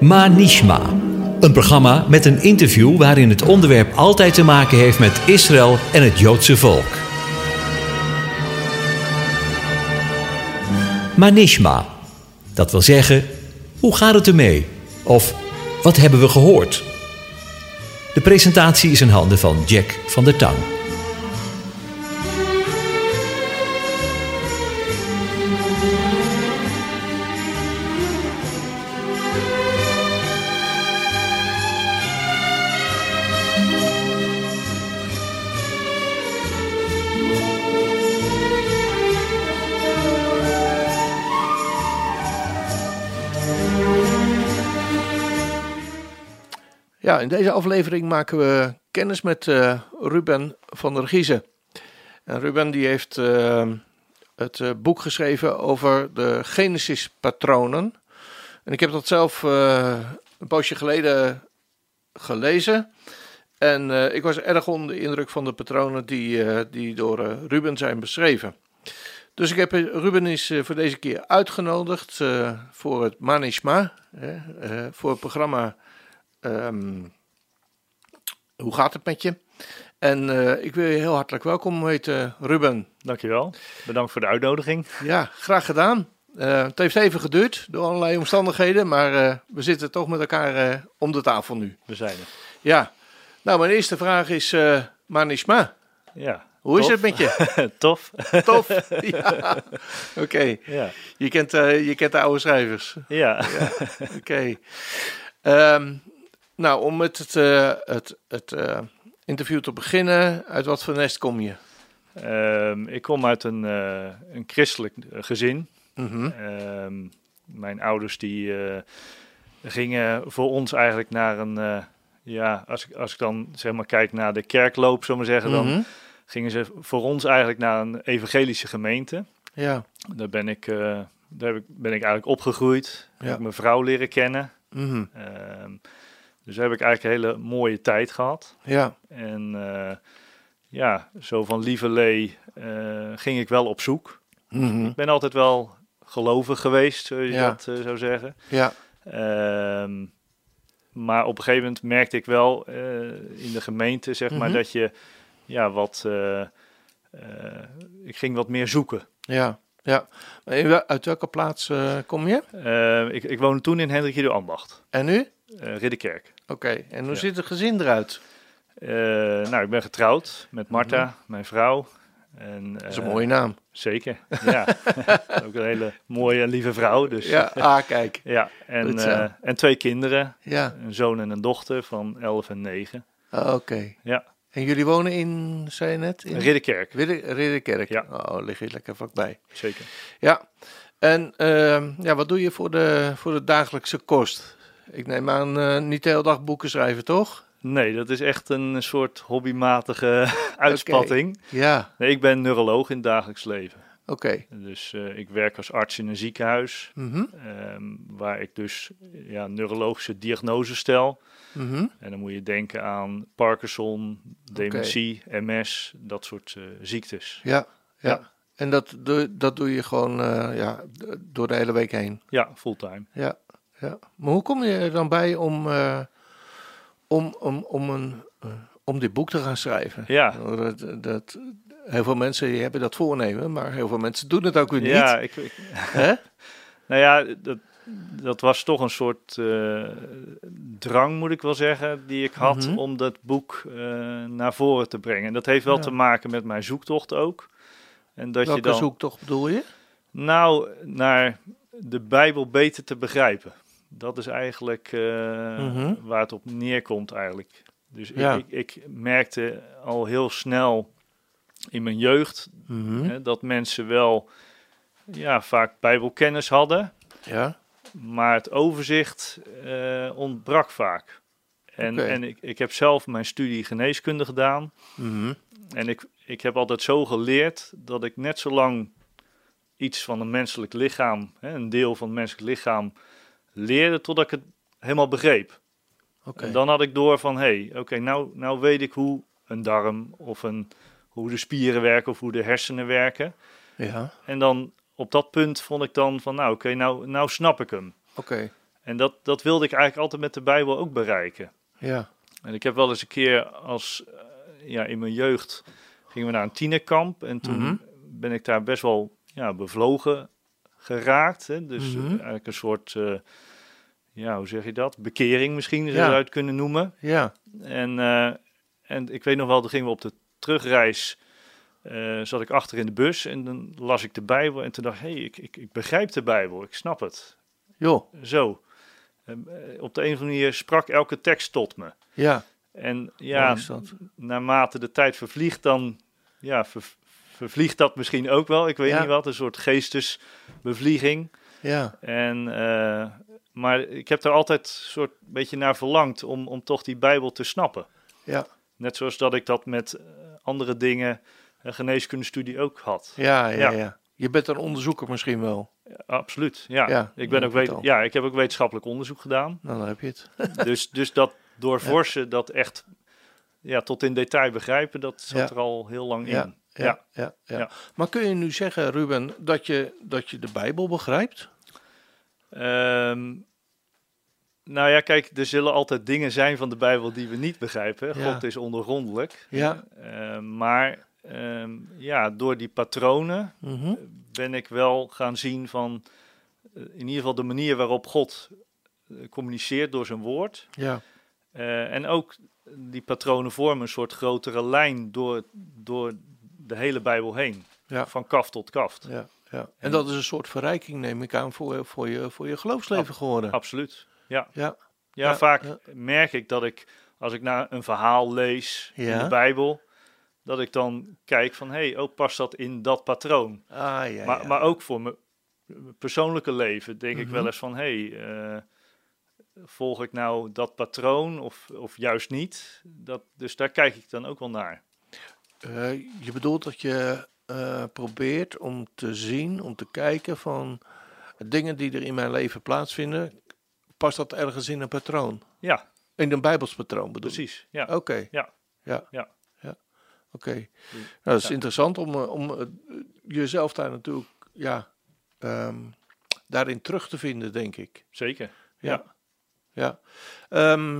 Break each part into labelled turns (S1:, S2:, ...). S1: Manishma. Een programma met een interview waarin het onderwerp altijd te maken heeft met Israël en het Joodse volk. Manishma. Dat wil zeggen, hoe gaat het ermee? Of wat hebben we gehoord? De presentatie is in handen van Jack van der Tang.
S2: Ja, in deze aflevering maken we kennis met eh, Ruben van der Giezen. En Ruben die heeft eh, het eh, boek geschreven over de Genesis-patronen. En ik heb dat zelf eh, een poosje geleden gelezen. En eh, ik was erg onder de indruk van de patronen die, eh, die door eh, Ruben zijn beschreven. Dus ik heb eh, Ruben is eh, voor deze keer uitgenodigd eh, voor het Manishma, hè, eh, voor het programma Ehm, hoe gaat het met je? En eh, ik wil je heel hartelijk welkom heten, Ruben.
S3: Dankjewel. Bedankt voor de uitnodiging.
S2: Ja, graag gedaan. Eh, het heeft even geduurd door allerlei omstandigheden, maar eh, we zitten toch met elkaar eh, om de tafel nu.
S3: We zijn er.
S2: Ja, nou, mijn eerste vraag is: eh Manishma,
S3: Ja.
S2: hoe is
S3: Tof.
S2: het met je?
S3: Tof.
S2: Tof. ja, oké.
S3: Ja.
S2: Je, kent, eh, je kent de oude schrijvers.
S3: Ja.
S2: Oké. Ehm, nou, om met het, eh, het, het eh, interview te beginnen, uit wat voor nest kom je?
S3: Ehm, ik kom uit een, eh, een christelijk eh, gezin.
S2: Mhm.
S3: Ehm, mijn ouders die eh, gingen voor ons eigenlijk naar een... eh, ja, als ik, als ik dan zeg maar kijk naar de kerkloop, zullen we zeggen, dan
S2: Mhm.
S3: gingen ze voor ons eigenlijk naar een evangelische gemeente.
S2: Ja.
S3: Daar ben ik, eh, daar heb ik, ben ik eigenlijk opgegroeid.
S2: Ja.
S3: Heb ik mijn vrouw leren kennen.
S2: Mhm.
S3: Ehm, dus daar heb ik eigenlijk een hele mooie tijd gehad.
S2: ja.
S3: En eh, ja, zo van lieverlee eh ging ik wel op zoek.
S2: Mhm.
S3: Ik ben altijd wel gelovig geweest, zou je
S2: Ja.
S3: dat eh, zou zeggen.
S2: Ja.
S3: Ehm, maar op een gegeven moment merkte ik wel eh, in de gemeente, zeg maar,
S2: Mhm.
S3: dat je ja, wat. eh, eh, ik ging wat meer zoeken.
S2: Ja. Ja. Maar in wel- uit welke plaats eh, kom je?
S3: Eh, ik, ik woonde toen in Hendrikje de Ambacht,
S2: En nu? Oké.
S3: eh Ridderkerk.
S2: En hoe
S3: Ja.
S2: ziet het gezin eruit?
S3: Eh, nou, ik ben getrouwd met Marta, mijn vrouw. En,
S2: Mhm. Dat is een
S3: eh,
S2: mooie naam.
S3: Zeker, ja. Ook een hele mooie, lieve vrouw. Dus.
S2: Ja. Ah, kijk.
S3: Ja, en,
S2: Goed zo.
S3: eh, en twee kinderen,
S2: Ja.
S3: een zoon en een dochter van 11 en 9.
S2: Ah, Oké.
S3: Ja.
S2: En jullie wonen in, zei je net? In
S3: Ridderkerk,
S2: Ridder- Ridderkerk.
S3: Ja.
S2: Oh, lig je lekker vlakbij.
S3: zeker.
S2: Ja, en ehm, ja, wat doe je voor de, voor de dagelijkse kost? Ik neem aan eh, niet de hele dag boeken schrijven, toch?
S3: Nee, dat is echt een soort hobbymatige uitspatting.
S2: Ja,
S3: Nee, ik ben neuroloog in het dagelijks leven.
S2: oké.
S3: Dus eh, ik werk als arts in een ziekenhuis,
S2: Mhm,
S3: ehm, waar ik dus ja, neurologische diagnoses stel.
S2: mhm.
S3: En dan moet je denken aan Parkinson, dementie, MS, dat soort eh, ziektes.
S2: Ja, ja.
S3: Ja.
S2: En dat doe, dat doe je gewoon eh, ja, d- door de hele week heen.
S3: Ja, fulltime.
S2: Ja, ja. Maar hoe kom je er dan bij om, eh, om, om, om, een, eh, om dit boek te gaan schrijven? Nou,
S3: Ja,
S2: Dat, dat, heel veel mensen die hebben dat voornemen, maar heel veel mensen doen het ook weer niet.
S3: Ja, ik, ik-
S2: Hè?
S3: nou ja, dat, dat was toch een soort eh, drang, moet ik wel zeggen, die ik had
S2: Mhm.
S3: om dat boek eh, naar voren te brengen. En dat heeft wel
S2: Ja.
S3: te maken met mijn zoektocht ook. En dat
S2: Welke
S3: je dan
S2: zoektocht bedoel je?
S3: nou naar de Bijbel beter te begrijpen. Dat is eigenlijk eh,
S2: Mhm.
S3: waar het op neerkomt eigenlijk. Dus
S2: Ja.
S3: ik, ik, ik merkte al heel snel in mijn jeugd
S2: Mhm,
S3: hè, dat mensen wel ja, vaak Bijbelkennis hadden.
S2: Ja.
S3: Maar het overzicht eh, ontbrak vaak. En,
S2: Oké.
S3: en ik, ik heb zelf mijn studie geneeskunde gedaan.
S2: Mhm.
S3: En ik, ik heb altijd zo geleerd dat ik net zo lang iets van een menselijk lichaam, hè, een deel van het menselijk lichaam, leerde totdat ik het helemaal begreep.
S2: Oké.
S3: En dan had ik door van, hé, hey, oké, nou, nou weet ik hoe een darm of een, hoe de spieren werken of hoe de hersenen werken.
S2: Ja,
S3: En dan op dat punt vond ik dan van, nou oké, nou, nou snap ik hem.
S2: oké.
S3: En dat, dat wilde ik eigenlijk altijd met de Bijbel ook bereiken.
S2: ja,
S3: En ik heb wel eens een keer als, eh, ja, in mijn jeugd gingen we naar een tienerkamp. En toen
S2: Mhm.
S3: ben ik daar best wel ja, bevlogen geraakt. Hè? Dus eh,
S2: Mhm.
S3: eigenlijk een soort, eh, ja, hoe zeg je dat? Bekering misschien zou je
S2: Ja.
S3: het uit kunnen noemen.
S2: ja,
S3: En, eh, en ik weet nog wel, toen gingen we op de terugreis, eh, zat ik achter in de bus en dan las ik de Bijbel. En toen dacht ik, hé, hey, ik, ik, ik begrijp de Bijbel, ik snap het.
S2: joh,
S3: Zo. Ehm, eh, op de een of andere manier sprak elke tekst tot me.
S2: ja.
S3: En
S2: Mooi
S3: ja,
S2: is dat.
S3: naarmate de tijd vervliegt, dan ja, ver- vervliegt dat misschien ook wel. Ik weet
S2: Ja.
S3: niet wat, een soort geestesbevlieging.
S2: ja,
S3: En, eh, maar ik heb er altijd een soort beetje naar verlangd om, om toch die Bijbel te snappen.
S2: ja,
S3: Net zoals dat ik dat met eh, andere dingen, een geneeskundestudie ook had.
S2: ja, ja,
S3: Ja.
S2: ja. Je bent een onderzoeker misschien wel.
S3: Absoluut, ja.
S2: Ja,
S3: ik, ben
S2: dat
S3: ook weet,
S2: vertel.
S3: ja ik heb ook wetenschappelijk onderzoek gedaan.
S2: Nou, dan heb je het.
S3: dus, dus dat doorvorsen, dat echt ja, tot in detail begrijpen, dat zat
S2: Ja.
S3: er al heel lang
S2: Ja,
S3: in.
S2: Ja, ja,
S3: Ja.
S2: ja,
S3: Ja.
S2: Maar kun je nu zeggen, Ruben, dat je, dat je de Bijbel begrijpt?
S3: Ehm, nou ja, kijk, er zullen altijd dingen zijn van de Bijbel die we niet begrijpen.
S2: Ja.
S3: God is ondergrondelijk.
S2: Ja.
S3: Ehm, maar ehm, ja, door die patronen
S2: Mhm.
S3: ben ik wel gaan zien van eh, in ieder geval de manier waarop God eh, communiceert door zijn woord.
S2: Ja,
S3: Eh, en ook die patronen vormen een soort grotere lijn door, door de hele Bijbel heen.
S2: Ja.
S3: Van kaft tot kaft.
S2: ja, ja. En dat is een soort verrijking, neem ik aan, voor, voor, je, voor je geloofsleven geworden.
S3: Absoluut. Ja.
S2: Ja.
S3: Ja,
S2: Ja,
S3: vaak
S2: ja.
S3: merk ik dat ik, als ik naar een verhaal lees in
S2: Ja.
S3: de Bijbel, dat ik dan kijk van, hé, hey, oh, past dat in dat patroon?
S2: Ah, ja, Mhm.
S3: maar,
S2: ja.
S3: maar ook voor mijn persoonlijke leven denk ik wel eens van, hé, hey, eh, volg ik nou dat patroon of, of juist niet? Dat, dus daar kijk ik dan ook wel naar.
S2: Eh, je bedoelt dat je eh, probeert om te zien, om te kijken van dingen die er in mijn leven plaatsvinden, past dat ergens in een patroon?
S3: Ja,
S2: In een Bijbelspatroon bedoel ik?
S3: precies. Ja.
S2: Oké.
S3: Ja.
S2: Ja.
S3: Ja.
S2: Ja. Oké. Nou, dat is interessant om, eh, om eh, jezelf daar natuurlijk, ja, ehm, daarin terug te vinden, denk ik.
S3: Zeker.
S2: Ja. Ja. Ehm,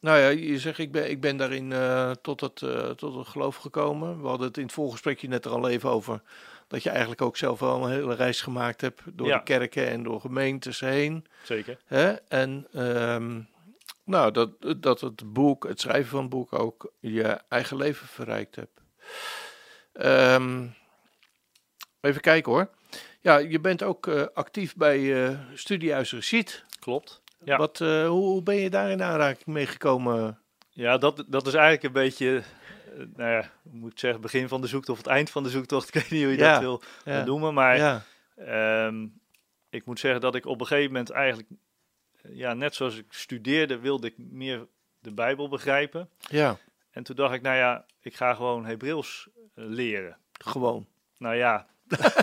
S2: nou ja, je zegt, ik ben, ik ben daarin eh, tot, het, eh, tot het geloof gekomen. We hadden het in het voorgesprekje net er al even over. Dat je eigenlijk ook zelf wel een hele reis gemaakt hebt. Door
S3: Ja.
S2: de kerken en door gemeentes heen.
S3: Zeker.
S2: Hè? En ehm, nou, dat, dat het boek, het schrijven van het boek ook je eigen leven verrijkt hebt. Ehm, even kijken hoor. Ja, je bent ook eh, actief bij eh Studiehuis Recit.
S3: Klopt. Ja.
S2: Wat, eh, hoe, hoe ben je daar in aanraking mee gekomen?
S3: Ja, dat, dat is eigenlijk een beetje, eh, nou ja, hoe moet ik zeggen, begin van de zoektocht, het eind van de zoektocht. Ik weet niet hoe je
S2: Ja.
S3: dat wil
S2: Ja,
S3: noemen, maar
S2: ja,
S3: ehm, ik moet zeggen dat ik op een gegeven moment eigenlijk, eh, ja, net zoals ik studeerde, wilde ik meer de Bijbel begrijpen.
S2: ja,
S3: En toen dacht ik, nou ja, ik ga gewoon Hebreeuws eh, leren.
S2: gewoon.
S3: Nou ja,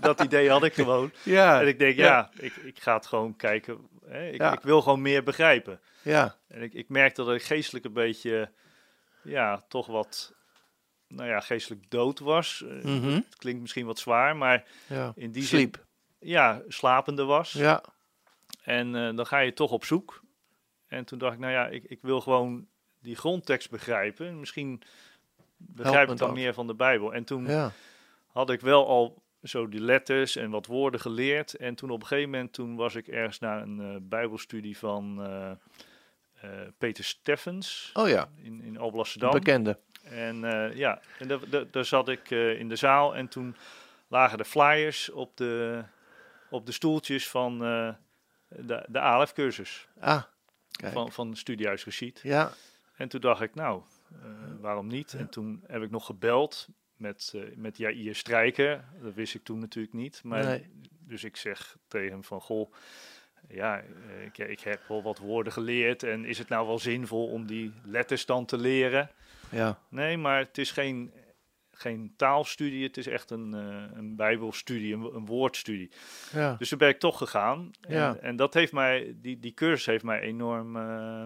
S3: dat idee had ik gewoon.
S2: Ja,
S3: En ik denk, ja, ik, ik ga het gewoon kijken. Hè. Ik,
S2: Ja.
S3: ik wil gewoon meer begrijpen.
S2: ja,
S3: En ik, ik merk dat ik geestelijk een beetje, ja, toch wat, nou ja, geestelijk dood was. Eh,
S2: mhm,
S3: Het klinkt misschien wat zwaar, maar
S2: ja.
S3: in die
S2: Sliep.
S3: zin, ja, slapende was.
S2: Ja,
S3: En eh, dan ga je toch op zoek. En toen dacht ik, nou ja, ik, ik wil gewoon die grondtekst begrijpen. En Misschien
S2: Helpt
S3: begrijp
S2: me
S3: ik dan
S2: dat.
S3: meer van de Bijbel. En toen
S2: ja,
S3: had ik wel al zo die letters en wat woorden geleerd. En toen op een gegeven moment, toen was ik ergens naar een eh, Bijbelstudie van eh, eh, Peter Steffens
S2: oh ja,
S3: in, in Alblasserdam.
S2: bekende.
S3: En eh, ja, en daar- daar- daar zat ik eh, in de zaal en toen lagen de flyers op de, op de stoeltjes van eh, de, de ALF-cursus
S2: Ah, kijk,
S3: van, van Studiehuis Geschied.
S2: ja,
S3: En toen dacht ik, nou, eh, waarom niet? En toen heb ik nog gebeld met, eh met Jair Strijker. Dat wist ik toen natuurlijk niet. Maar
S2: nee,
S3: dus ik zeg tegen hem van, goh, ja, eh, ik, ik heb wel wat woorden geleerd. En is het nou wel zinvol om die letters dan te leren?
S2: ja,
S3: Nee, maar het is geen, geen taalstudie, het is echt een, eh, een bijbelstudie, een, wo- een woordstudie.
S2: ja,
S3: Dus toen ben ik toch gegaan. En,
S2: Ja.
S3: en dat heeft mij, die, die cursus heeft mij enorm eh,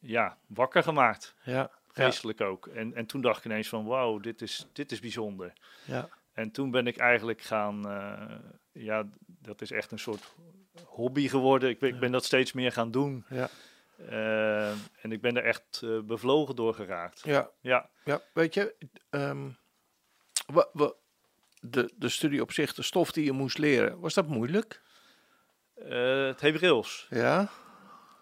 S3: ja, wakker gemaakt,
S2: ja, ja,
S3: geestelijk ook. En, en toen dacht ik ineens van, wauw, dit is, dit is bijzonder.
S2: ja,
S3: En toen ben ik eigenlijk gaan, eh, ja, dat is echt een soort hobby geworden. Ik, ben- ik ben dat steeds meer gaan doen.
S2: Ja.
S3: Eh, en ik ben er echt eh, bevlogen door geraakt.
S2: Ja,
S3: Ja,
S2: ja weet je, ehm, wa- wa- de, de studie op zich, de stof die je moest leren, was dat moeilijk?
S3: eh, het Hebreeuws.
S2: Ja,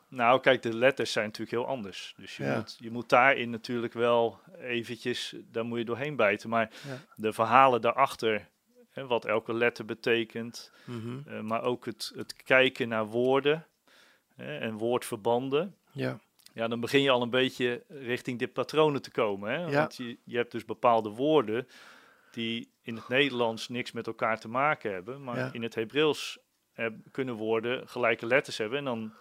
S3: Nou, kijk, de letters zijn natuurlijk heel anders. Dus je,
S2: Ja.
S3: moet, je moet daarin natuurlijk wel eventjes, daar moet je doorheen bijten. Maar
S2: Ja.
S3: de verhalen daarachter, hè, wat elke letter betekent,
S2: Mhm.
S3: eh, maar ook het, het kijken naar woorden hè, en woordverbanden.
S2: ja,
S3: Ja, dan begin je al een beetje richting dit patronen te komen. Hè?
S2: Ja.
S3: Want je, je hebt dus bepaalde woorden die in het Nederlands niks met elkaar te maken hebben. Maar
S2: Ja.
S3: in het Hebreeuws heb- kunnen woorden gelijke letters hebben. En dan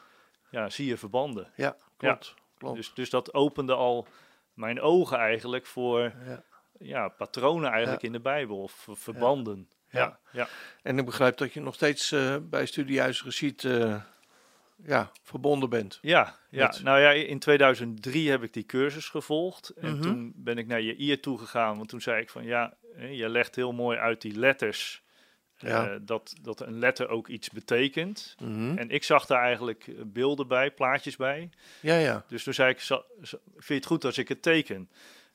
S3: ja, zie je verbanden.
S2: ja, klopt. klopt.
S3: Dus, dus dat opende al mijn ogen eigenlijk voor
S2: Ja.
S3: ja, patronen eigenlijk in de Bijbel. Of ver- verbanden.
S2: Ja.
S3: ja.
S2: En ik begrijp dat je nog steeds eh, bij Studiehuis Geschied eh, ja, verbonden bent.
S3: Ja, ja.
S2: Met-
S3: nou ja, in 2003 heb ik die cursus gevolgd. En
S2: Mhm.
S3: toen ben ik naar Jair toe gegaan. Want toen zei ik van ja, hè, je legt heel mooi uit die letters.
S2: Ja.
S3: eh, dat, dat een letter ook iets betekent.
S2: Mhm.
S3: En ik zag daar eigenlijk eh, beelden bij, plaatjes bij.
S2: Ja, ja.
S3: Dus toen zei ik, "Zal- zal- vind je het goed als ik het teken?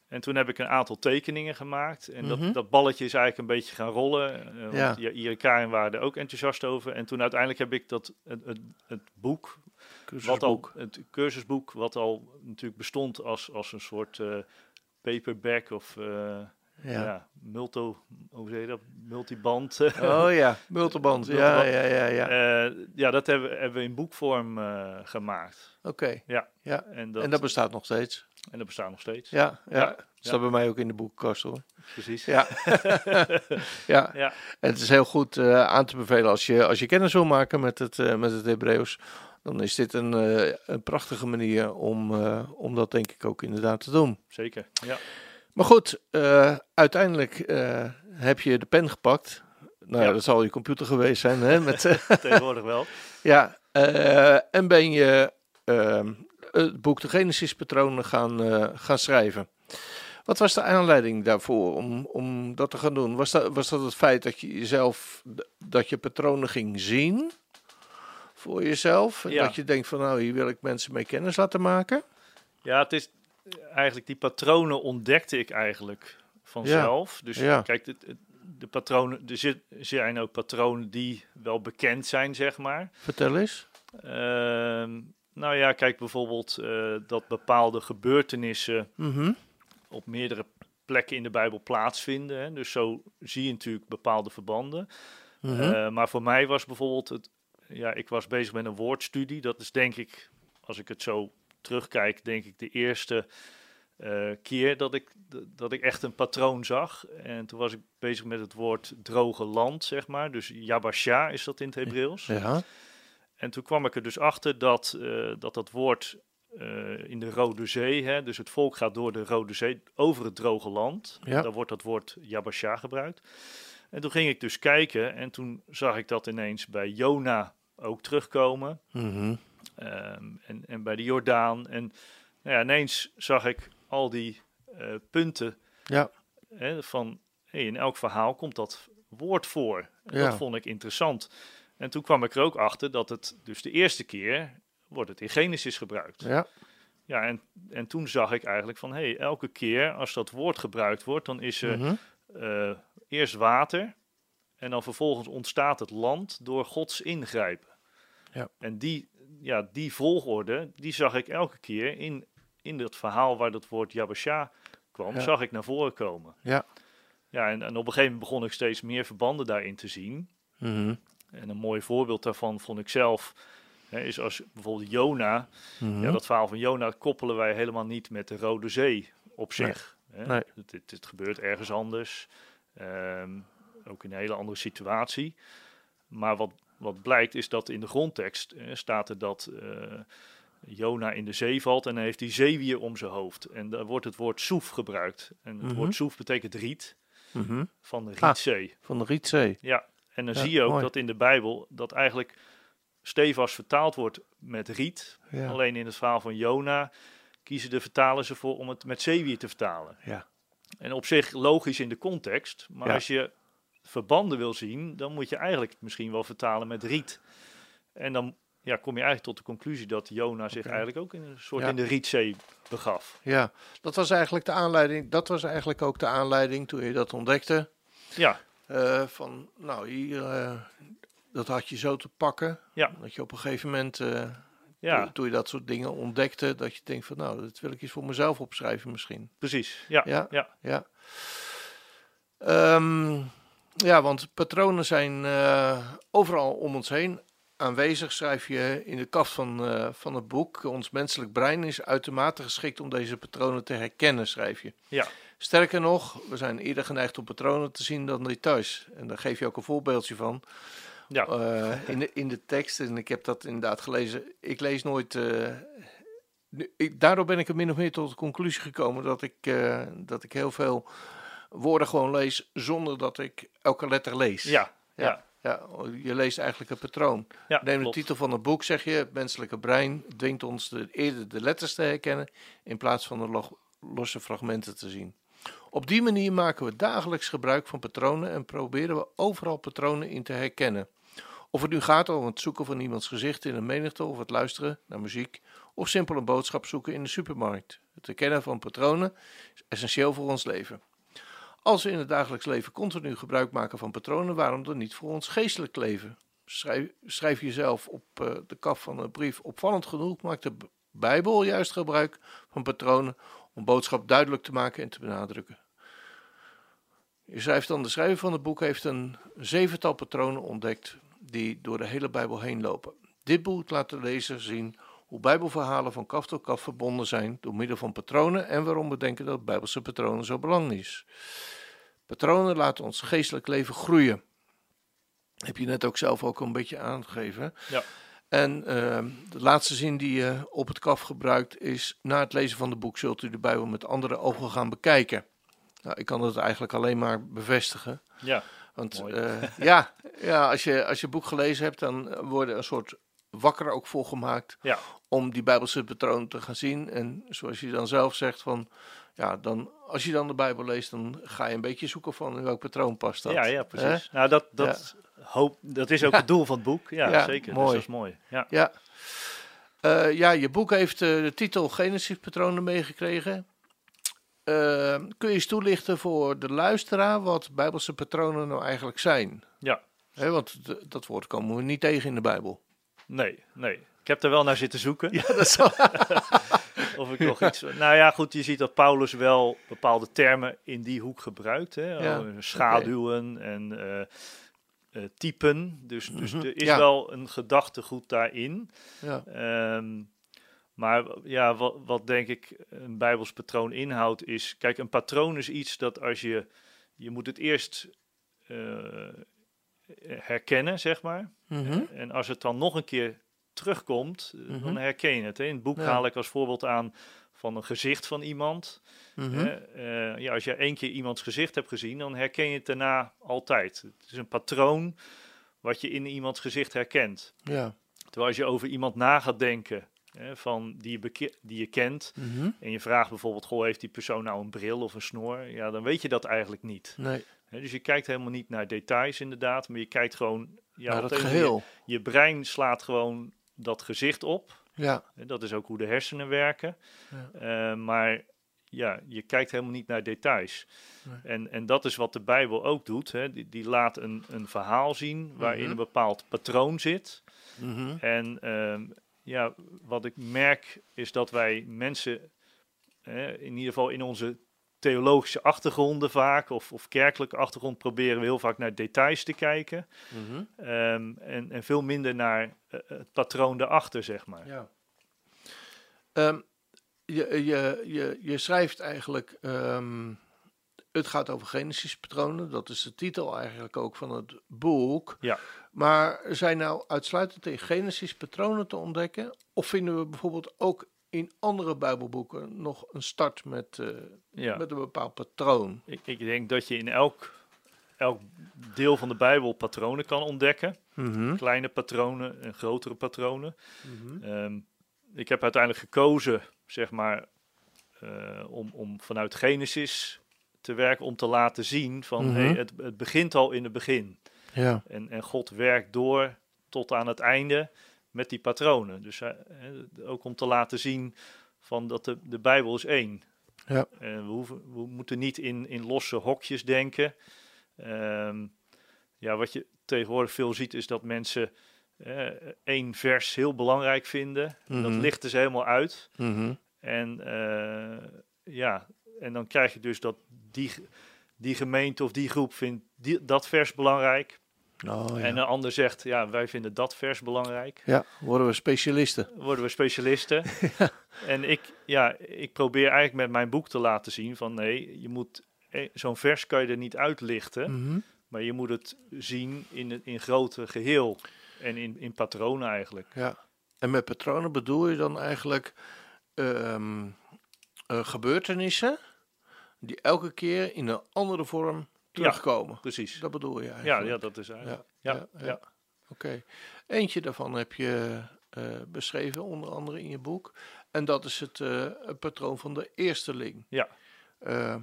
S3: En toen heb ik een aantal tekeningen gemaakt. En
S2: Mhm.
S3: dat, dat balletje is eigenlijk een beetje gaan rollen. eh,
S2: Ja.
S3: Want Jair en Karin waren er ook enthousiast over. En toen uiteindelijk heb ik dat, het, het, het boek wat al,
S2: Cursusboek.
S3: het cursusboek, wat al natuurlijk bestond als, als een soort eh, paperback of eh, ja.
S2: Ja.
S3: multo, hoe zeg je dat, multiband. eh,
S2: Oh ja, multiband. Ja,
S3: Multiband.
S2: ja, ja, ja.
S3: Eh, ja, dat hebben, we- hebben we in boekvorm eh, gemaakt.
S2: Oké.
S3: Ja.
S2: Ja.
S3: En dat,
S2: En dat bestaat nog steeds.
S3: en dat bestaat nog steeds.
S2: Ja, ja.
S3: Ja,
S2: Staat bij mij ook in de boekenkast hoor.
S3: Precies.
S2: Ja. ja.
S3: Ja.
S2: En het is heel goed eh, aan te bevelen als je, als je kennis wil maken met het, eh met het Hebreeuws. Dan is dit een, eh, een prachtige manier om, eh, om dat denk ik ook inderdaad te doen.
S3: zeker. Ja.
S2: Maar goed, eh, uiteindelijk eh, heb je de pen gepakt. Nou,
S3: Ja.
S2: dat zal je computer geweest zijn. Hè, met, eh,
S3: Tegenwoordig wel.
S2: ja, eh, en ben je ehm, het boek De Genesispatronen gaan, eh, gaan schrijven. Wat was de aanleiding daarvoor om, om dat te gaan doen? Was dat, was dat het feit dat je jezelf, dat je patronen ging zien voor jezelf? En
S3: Ja.
S2: Dat je denkt van nou, hier wil ik mensen mee kennis laten maken?
S3: Ja, het is eh, eigenlijk die patronen ontdekte ik eigenlijk vanzelf. Dus
S2: ja.
S3: kijk, het, het- de patronen, er zit- zijn ook patronen die wel bekend zijn, zeg maar.
S2: Vertel eens.
S3: Ehm, nou ja, kijk bijvoorbeeld eh, dat bepaalde gebeurtenissen
S2: Mhm.
S3: op meerdere plekken in de Bijbel plaatsvinden. Hè. Dus zo zie je natuurlijk bepaalde verbanden.
S2: mhm.
S3: Eh, maar voor mij was bijvoorbeeld het, ja, ik was bezig met een woordstudie. Dat is denk ik, als ik het zo terugkijk, denk ik de eerste eh, keer dat ik, d- dat ik echt een patroon zag. En toen was ik bezig met het woord droge land, zeg maar. Dus Yabasha is dat in het Hebreeuws.
S2: ja.
S3: En toen kwam ik er dus achter dat eh, dat, dat woord eh, in de Rode Zee, hè, dus het volk gaat door de Rode Zee over het droge land.
S2: Ja.
S3: Dan wordt dat woord Yabasha gebruikt. En toen ging ik dus kijken en toen zag ik dat ineens bij Jona ook terugkomen.
S2: Mhm.
S3: ehm, en, en bij de Jordaan. En nou ja, ineens zag ik al die eh, punten
S2: Ja.
S3: hè, van hey, in elk verhaal komt dat woord voor. En
S2: Ja.
S3: Dat vond ik interessant. En toen kwam ik er ook achter dat het dus de eerste keer wordt het in Genesis gebruikt. Ja,
S2: Ja.
S3: en, en toen zag ik eigenlijk van hey, elke keer als dat woord gebruikt wordt, dan is er
S2: Mhm.
S3: eh, eerst water en dan vervolgens ontstaat het land door Gods ingrijpen.
S2: Ja.
S3: En die, ja, die volgorde, die zag ik elke keer in, in dat verhaal waar dat woord Yabasha kwam,
S2: Ja.
S3: zag ik naar voren komen.
S2: Ja.
S3: Ja, en, en op een gegeven moment begon ik steeds meer verbanden daarin te zien.
S2: Mhm.
S3: En een mooi voorbeeld daarvan vond ik zelf, hè, is als bijvoorbeeld Jona,
S2: Mhm.
S3: ja, dat verhaal van Jona koppelen wij helemaal niet met de Rode Zee op
S2: Nee.
S3: zich. Hè?
S2: Nee.
S3: Het, het, het gebeurt ergens anders. Ehm, ook in een hele andere situatie. Maar wat, wat blijkt is dat in de grondtekst eh, staat er dat eh, Jona in de zee valt en dan heeft hij zeewier om zijn hoofd. En daar wordt het woord soef gebruikt. En het
S2: Mhm.
S3: woord soef betekent riet,
S2: Mhm.
S3: van de
S2: Ah.
S3: rietzee.
S2: Van de Rietzee.
S3: Ja, en dan
S2: Ja,
S3: zie je ook
S2: mooi.
S3: dat in de Bijbel dat eigenlijk stevast vertaald wordt met riet,
S2: Ja.
S3: Alleen in het verhaal van Jona kiezen de vertalers ervoor om het met zeewier te vertalen.
S2: Ja.
S3: En op zich logisch in de context, maar
S2: Ja.
S3: als je verbanden wil zien, dan moet je eigenlijk het misschien wel vertalen met riet. En dan ja, kom je eigenlijk tot de conclusie dat Jona zich
S2: Oké.
S3: eigenlijk ook in een soort
S2: Ja.
S3: in de Rietzee begaf.
S2: Ja, dat was eigenlijk de aanleiding. Dat was eigenlijk ook de aanleiding toen je dat ontdekte.
S3: Ja,
S2: eh, van, nou, hier, eh, dat had je zo te pakken.
S3: Ja.
S2: Dat je op een gegeven moment, eh,
S3: ja,
S2: toen, toen je dat soort dingen ontdekte, dat je denkt van, nou, dat wil ik eens voor mezelf opschrijven misschien.
S3: precies. Ja,
S2: Ja.
S3: ja. ja.
S2: Ja. Ehm, ja, want patronen zijn eh, overal om ons heen aanwezig, schrijf je in de kaft van, eh, van het boek. Ons menselijk brein is uitermate geschikt om deze patronen te herkennen, schrijf je.
S3: Ja.
S2: Sterker nog, we zijn eerder geneigd om patronen te zien dan details. En daar geef je ook een voorbeeldje van eh, in, de, in de tekst. En ik heb dat inderdaad gelezen. Ik lees nooit. eh, nu- ik, daardoor ben ik er min of meer tot de conclusie gekomen dat ik, eh, dat ik heel veel woorden gewoon lees zonder dat ik elke letter lees.
S3: ja,
S2: Ja. Ja, je leest eigenlijk een patroon.
S3: ja,
S2: Neem de
S3: klopt.
S2: titel van het boek, zeg je. Het menselijke brein dwingt ons de, eerder de letters te herkennen in plaats van de lo- losse fragmenten te zien. Op die manier maken we dagelijks gebruik van patronen en proberen we overal patronen in te herkennen. Of het nu gaat over het zoeken van iemands gezicht in een menigte of het luisteren naar muziek of simpel een boodschap zoeken in de supermarkt. Het herkennen van patronen is essentieel voor ons leven. Als we in het dagelijks leven continu gebruik maken van patronen, waarom dan niet voor ons geestelijk leven? schrijf, schrijf jezelf op eh, de kaf van een brief. Opvallend genoeg maakt de B- Bijbel juist gebruik van patronen om boodschap duidelijk te maken en te benadrukken. Je schrijft dan, de schrijver van het boek heeft een zevental patronen ontdekt die door de hele Bijbel heen lopen. Dit boek laat de lezer zien hoe Bijbelverhalen van kaf tot kaf verbonden zijn door middel van patronen en waarom we denken dat Bijbelse patronen zo belangrijk is. Patronen laten ons geestelijk leven groeien heb je net ook zelf ook een beetje aangegeven.
S3: Ja.
S2: En ehm, de laatste zin die je op het kaf gebruikt is: na het lezen van het boek zult u de Bijbel met andere ogen gaan bekijken. Nou, ik kan dat eigenlijk alleen maar bevestigen.
S3: Ja,
S2: Want
S3: Mooi.
S2: eh, ja, ja als, je, als je boek gelezen hebt, dan worden een soort wakker ook volgemaakt
S3: ja,
S2: om die Bijbelse patronen te gaan zien. En zoals je dan zelf zegt, van, ja, dan, als je dan de Bijbel leest, dan ga je een beetje zoeken van in welk patroon past dat.
S3: ja, ja,
S2: Hè?
S3: precies. Nou, dat, dat, hoop, dat is ook het doel van het boek. Ja,
S2: Ja,
S3: zeker.
S2: mooi.
S3: Dus dat is mooi. Ja,
S2: Ja. Eh, ja, je boek heeft eh, de titel Genesis-patronen meegekregen. Eh, kun je eens toelichten voor de luisteraar wat Bijbelse patronen nou eigenlijk zijn?
S3: ja.
S2: Hè, want d- dat woord komen we niet tegen in de Bijbel.
S3: Nee, nee. Ik heb er wel naar zitten zoeken.
S2: dat is wel-
S3: Of ik nog iets. Nou ja, goed, je ziet dat Paulus wel bepaalde termen in die hoek gebruikt. Hè?
S2: Ja,
S3: Oh, Schaduwen en eh, eh, typen. Dus, dus er is
S2: Mhm, Ja.
S3: wel een gedachtegoed daarin.
S2: ja.
S3: Ehm, maar w- ja, wat, wat denk ik een Bijbels patroon inhoudt is... Kijk, een patroon is iets dat als je... Je moet het eerst eh, herkennen, zeg maar.
S2: Mhm.
S3: En als het dan nog een keer terugkomt, eh,
S2: Mhm.
S3: dan herken je het. Hè. In het boek
S2: Ja.
S3: haal ik als voorbeeld aan van een gezicht van iemand.
S2: Mhm.
S3: hè. Eh, ja, als je één keer iemands gezicht hebt gezien, dan herken je het daarna altijd. Het is een patroon wat je in iemands gezicht herkent.
S2: ja.
S3: Terwijl als je over iemand na gaat denken, hè, van die, je beke- die je kent,
S2: Mhm.
S3: en je vraagt bijvoorbeeld, goh, heeft die persoon nou een bril of een snor? Ja, dan weet je dat eigenlijk niet.
S2: Nee,
S3: Hè, dus je kijkt helemaal niet naar details inderdaad, maar je kijkt gewoon... Ja,
S2: naar
S3: op
S2: het
S3: de een of andere
S2: Nou, geheel.
S3: je brein slaat gewoon dat gezicht op.
S2: Ja,
S3: En Dat is ook hoe de hersenen werken.
S2: Ja.
S3: Eh, maar ja, je kijkt helemaal niet naar details.
S2: Nee.
S3: En, en dat is wat de Bijbel ook doet. Hè. Die, die laat een, een verhaal zien waarin
S2: Mhm.
S3: een bepaald patroon zit.
S2: Mhm.
S3: En ehm, ja, wat ik merk is dat wij mensen, hè, in ieder geval in onze theologische achtergronden vaak, of, of kerkelijke achtergrond, proberen we heel vaak naar details te kijken.
S2: Mhm.
S3: Ehm, en, en veel minder naar eh, het patroon daarachter, zeg maar.
S2: Ja. Ehm, je, je, je, je schrijft eigenlijk. ehm, het gaat over Genesis-patronen. Dat is de titel eigenlijk ook van het boek.
S3: Ja.
S2: Maar zijn nou uitsluitend in Genesis-patronen te ontdekken? Of vinden we bijvoorbeeld ook in andere Bijbelboeken nog een start met, eh,
S3: Ja.
S2: met een bepaald patroon?
S3: Ik, ik denk dat je in elk, elk deel van de Bijbel patronen kan ontdekken.
S2: Hm.
S3: Kleine patronen en grotere patronen.
S2: Mhm.
S3: Ehm, ik heb uiteindelijk gekozen, zeg maar, eh, om, om vanuit Genesis te werken, om te laten zien van,
S2: Mhm.
S3: hey, het, het begint al in het begin.
S2: Ja.
S3: En, en God werkt door tot aan het einde met die patronen. Dus hij- hè, ook om te laten zien van dat de, de Bijbel is één.
S2: Ja.
S3: En we, hoeven, we moeten niet in, in losse hokjes denken. Ehm, ja, wat je tegenwoordig veel ziet is dat mensen eh, één vers heel belangrijk vinden. Dat
S2: Mhm.
S3: lichten ze helemaal uit.
S2: Mhm.
S3: En eh, ja, en dan krijg je dus dat die, die gemeente of die groep vindt die, dat vers belangrijk.
S2: Oh, ja.
S3: En een ander zegt, ja, wij vinden dat vers belangrijk.
S2: ja, worden we specialisten.
S3: Worden we specialisten. En ik, ja, ik probeer eigenlijk met mijn boek te laten zien van nee, je moet, eh, zo'n vers kan je er niet uitlichten.
S2: Mhm.
S3: Maar je moet het zien in, het- in grote geheel. En in, in patronen eigenlijk.
S2: Ja. En met patronen bedoel je dan eigenlijk ehm, eh, gebeurtenissen die elke keer in een andere vorm terugkomen.
S3: Precies.
S2: Dat bedoel je
S3: Ja,
S2: eigenlijk.
S3: ja, dat is eigenlijk.
S2: ja,
S3: Ja,
S2: ja.
S3: ja,
S2: Oké. Eentje daarvan heb je eh, beschreven, onder andere in je boek. En dat is het eh, het patroon van de eersteling.
S3: Ja.
S2: Eh,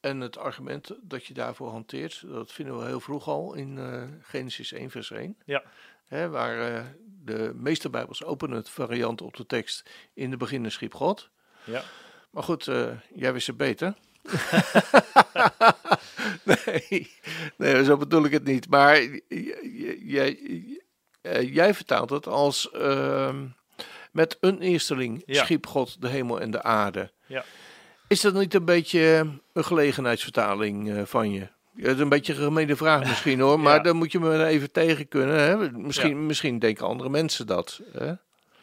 S2: en het argument dat je daarvoor hanteert, dat vinden we heel vroeg al in eh, Genesis 1, vers 1.
S3: Ja.
S2: Hè, waar eh, de meeste Bijbels openen het variant op de tekst: In de beginner schiep God.
S3: ja.
S2: Maar goed, eh, jij wist het beter. nee, nee, zo bedoel ik het niet. Maar j- j- jij, j- eh, jij vertaalt het als ehm, met een eersteling
S3: Ja.
S2: schiep God de hemel en de aarde.
S3: Ja.
S2: Is dat niet een beetje een gelegenheidsvertaling eh, van je? Ja, dat is een beetje een gemene vraag misschien hoor, maar
S3: Ja.
S2: dan moet je me even tegen kunnen. Hè? Misschien, misschien denken andere mensen dat. Hè?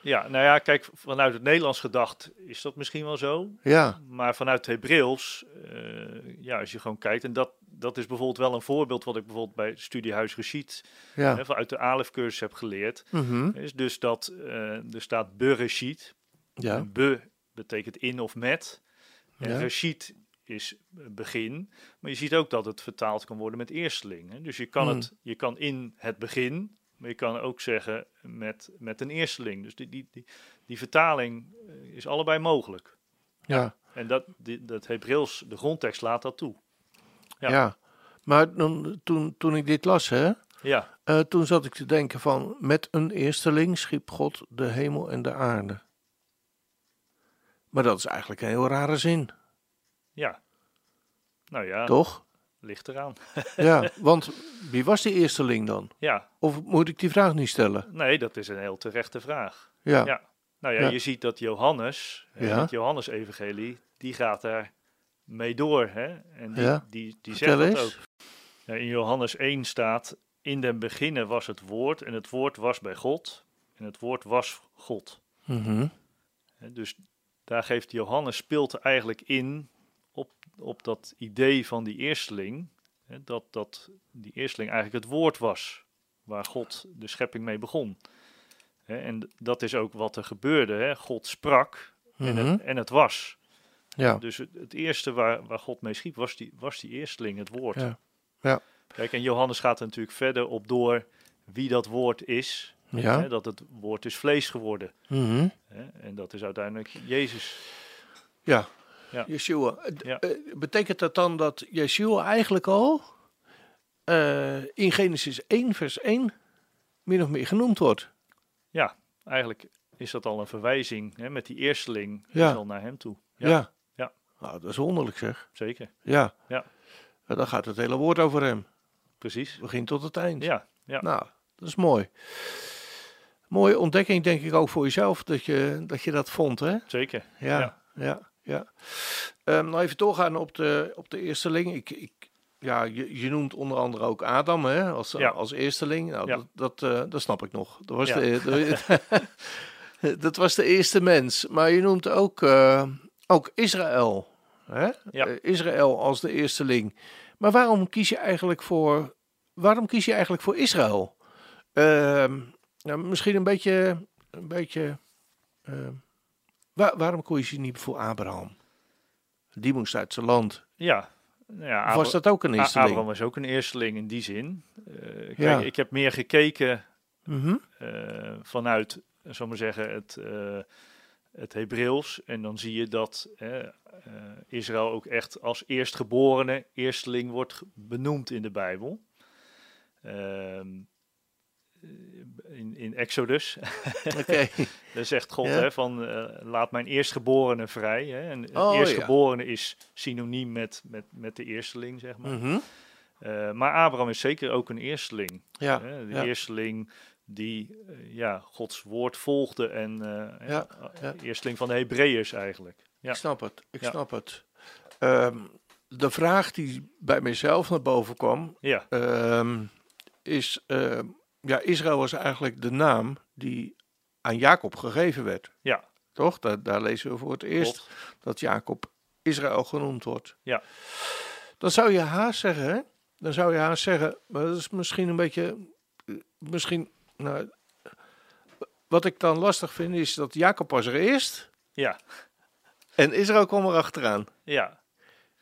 S3: Ja, nou ja, kijk, vanuit het Nederlands gedacht is dat misschien wel zo.
S2: Ja,
S3: Maar vanuit het Hebreeuws, eh, ja, als je gewoon kijkt, en dat, dat is bijvoorbeeld wel een voorbeeld wat ik bijvoorbeeld bij Studiehuis Geschied,
S2: ja.
S3: hè, vanuit de Alef-cursus heb geleerd,
S2: Mhm.
S3: is dus dat eh, er staat Bereshit.
S2: ja.
S3: En Be betekent in of met. En
S2: Ja.
S3: Reshit is begin. Maar je ziet ook dat het vertaald kan worden met eersteling. Hè? Dus je kan,
S2: Hmm.
S3: het, je kan in het begin, maar je kan ook zeggen met, met een eersteling. Dus die, die, die, die vertaling eh, is allebei mogelijk.
S2: ja.
S3: En dat, die, dat Hebreeuws, de grondtekst laat dat toe.
S2: Ja.
S3: Ja.
S2: Maar dan, toen, toen ik dit las, hè,
S3: Ja,
S2: eh, toen zat ik te denken van... Met een eersteling schiep God de hemel en de aarde. Maar dat is eigenlijk een heel rare zin,
S3: ja. Nou ja,
S2: toch?
S3: ligt eraan.
S2: Ja, want wie was die eersteling dan?
S3: Ja,
S2: Of moet ik die vraag niet stellen?
S3: nee, dat is een heel terechte vraag.
S2: Ja, ja.
S3: Ja. Nou ja,
S2: Ja.
S3: je ziet dat Johannes, hè,
S2: Ja.
S3: het Johannes-evangelie, die gaat daar mee door. Hè? En die,
S2: Ja.
S3: die, die zegt
S2: Vertel
S3: dat
S2: eens.
S3: ook. Ja, in Johannes 1 staat, in den beginnen was het woord en het woord was bij God en het woord was God.
S2: Mhm.
S3: Hè, Dus daar geeft Johannes, speelt eigenlijk in op, op dat idee van die eersteling, hè, dat, dat die eersteling eigenlijk het woord was waar God de schepping mee begon. Hè, En dat is ook wat er gebeurde. Hè. God sprak en,
S2: Mhm.
S3: het, en het was.
S2: ja.
S3: Dus het, het eerste waar, waar God mee schiep was die, was die eersteling, het woord.
S2: Ja. Ja.
S3: Kijk, en Johannes gaat er natuurlijk verder op door wie dat woord is. Hè,
S2: ja.
S3: dat het woord is vlees geworden.
S2: Mhm.
S3: Hè? En dat is uiteindelijk Jezus.
S2: Ja.
S3: Ja.
S2: Yeshua. D-
S3: Ja.
S2: eh, betekent dat dan dat Yeshua eigenlijk al eh, in Genesis 1 vers 1 min of meer genoemd wordt?
S3: Ja, eigenlijk is dat al een verwijzing hè? met die eersteling
S2: Ja.
S3: is al naar hem toe.
S2: Ja.
S3: Ja, Ja.
S2: Nou, dat is wonderlijk zeg.
S3: zeker.
S2: Ja.
S3: Ja.
S2: En dan gaat het hele woord over hem.
S3: Precies.
S2: Begin tot het eind.
S3: Ja, ja.
S2: Nou, dat is mooi. Mooie ontdekking denk ik ook voor jezelf dat je dat, je dat vond hè?
S3: zeker.
S2: Ja, ja,
S3: Ja.
S2: ja. Ehm, nou, even doorgaan op de, op de eersteling. Ik, ik, ja, je, je noemt onder andere ook Adam hè, als,
S3: Ja.
S2: als eersteling. Nou,
S3: Ja.
S2: dat, dat, eh, dat snap ik nog. Dat was,
S3: Ja.
S2: de, de- dat was de eerste mens. Maar je noemt ook, eh, ook Israël. Hè?
S3: Ja.
S2: Eh, Israël als de eersteling. Maar waarom kies je eigenlijk voor, waarom kies je eigenlijk voor Israël? Ehm, nou, misschien een beetje... Een beetje ehm, Waar- waarom koos je niet voor Abraham? Die moest uit zijn land.
S3: Ja. Nou ja,
S2: Of was
S3: Abra-
S2: dat ook een
S3: A-
S2: eersteling?
S3: Abraham was ook een eersteling in die zin. Eh, kijk,
S2: Ja.
S3: ik heb meer gekeken
S2: Mhm.
S3: eh, vanuit, eh, zal ik maar zeggen, het, eh het Hebreeuws. En dan zie je dat eh, eh, Israël ook echt als eerstgeborene, eersteling wordt ge- benoemd in de Bijbel. Ehm, in, in Exodus.
S2: Oké,
S3: Daar zegt God
S2: Ja.
S3: hè, van eh, laat mijn eerstgeborene vrij. Hè? En het
S2: Oh, ja.
S3: eerstgeborene is synoniem met, met, met de eersteling, zeg maar.
S2: Mhm.
S3: Eh, maar Abraham is zeker ook een eersteling.
S2: ja,
S3: hè? De
S2: ja.
S3: eersteling die eh, ja, Gods woord volgde en eh,
S2: Ja,
S3: eh,
S2: ja.
S3: eersteling van de Hebreeërs eigenlijk. Ja.
S2: ik snap het, ik
S3: Ja.
S2: snap het. Ehm, de vraag die bij mezelf naar boven kwam,
S3: Ja,
S2: ehm, is, ehm, ja, Israël was eigenlijk de naam die aan Jacob gegeven werd.
S3: ja,
S2: Toch? Daar, daar lezen we voor het eerst
S3: klopt.
S2: dat Jacob Israël genoemd wordt.
S3: Ja.
S2: Dan zou je haast zeggen, hè? Dan zou je haast zeggen, maar dat is misschien een beetje, eh, misschien, nou, wat ik dan lastig vind is dat Jacob was er eerst
S3: Ja,
S2: en Israël kwam er achteraan.
S3: ja,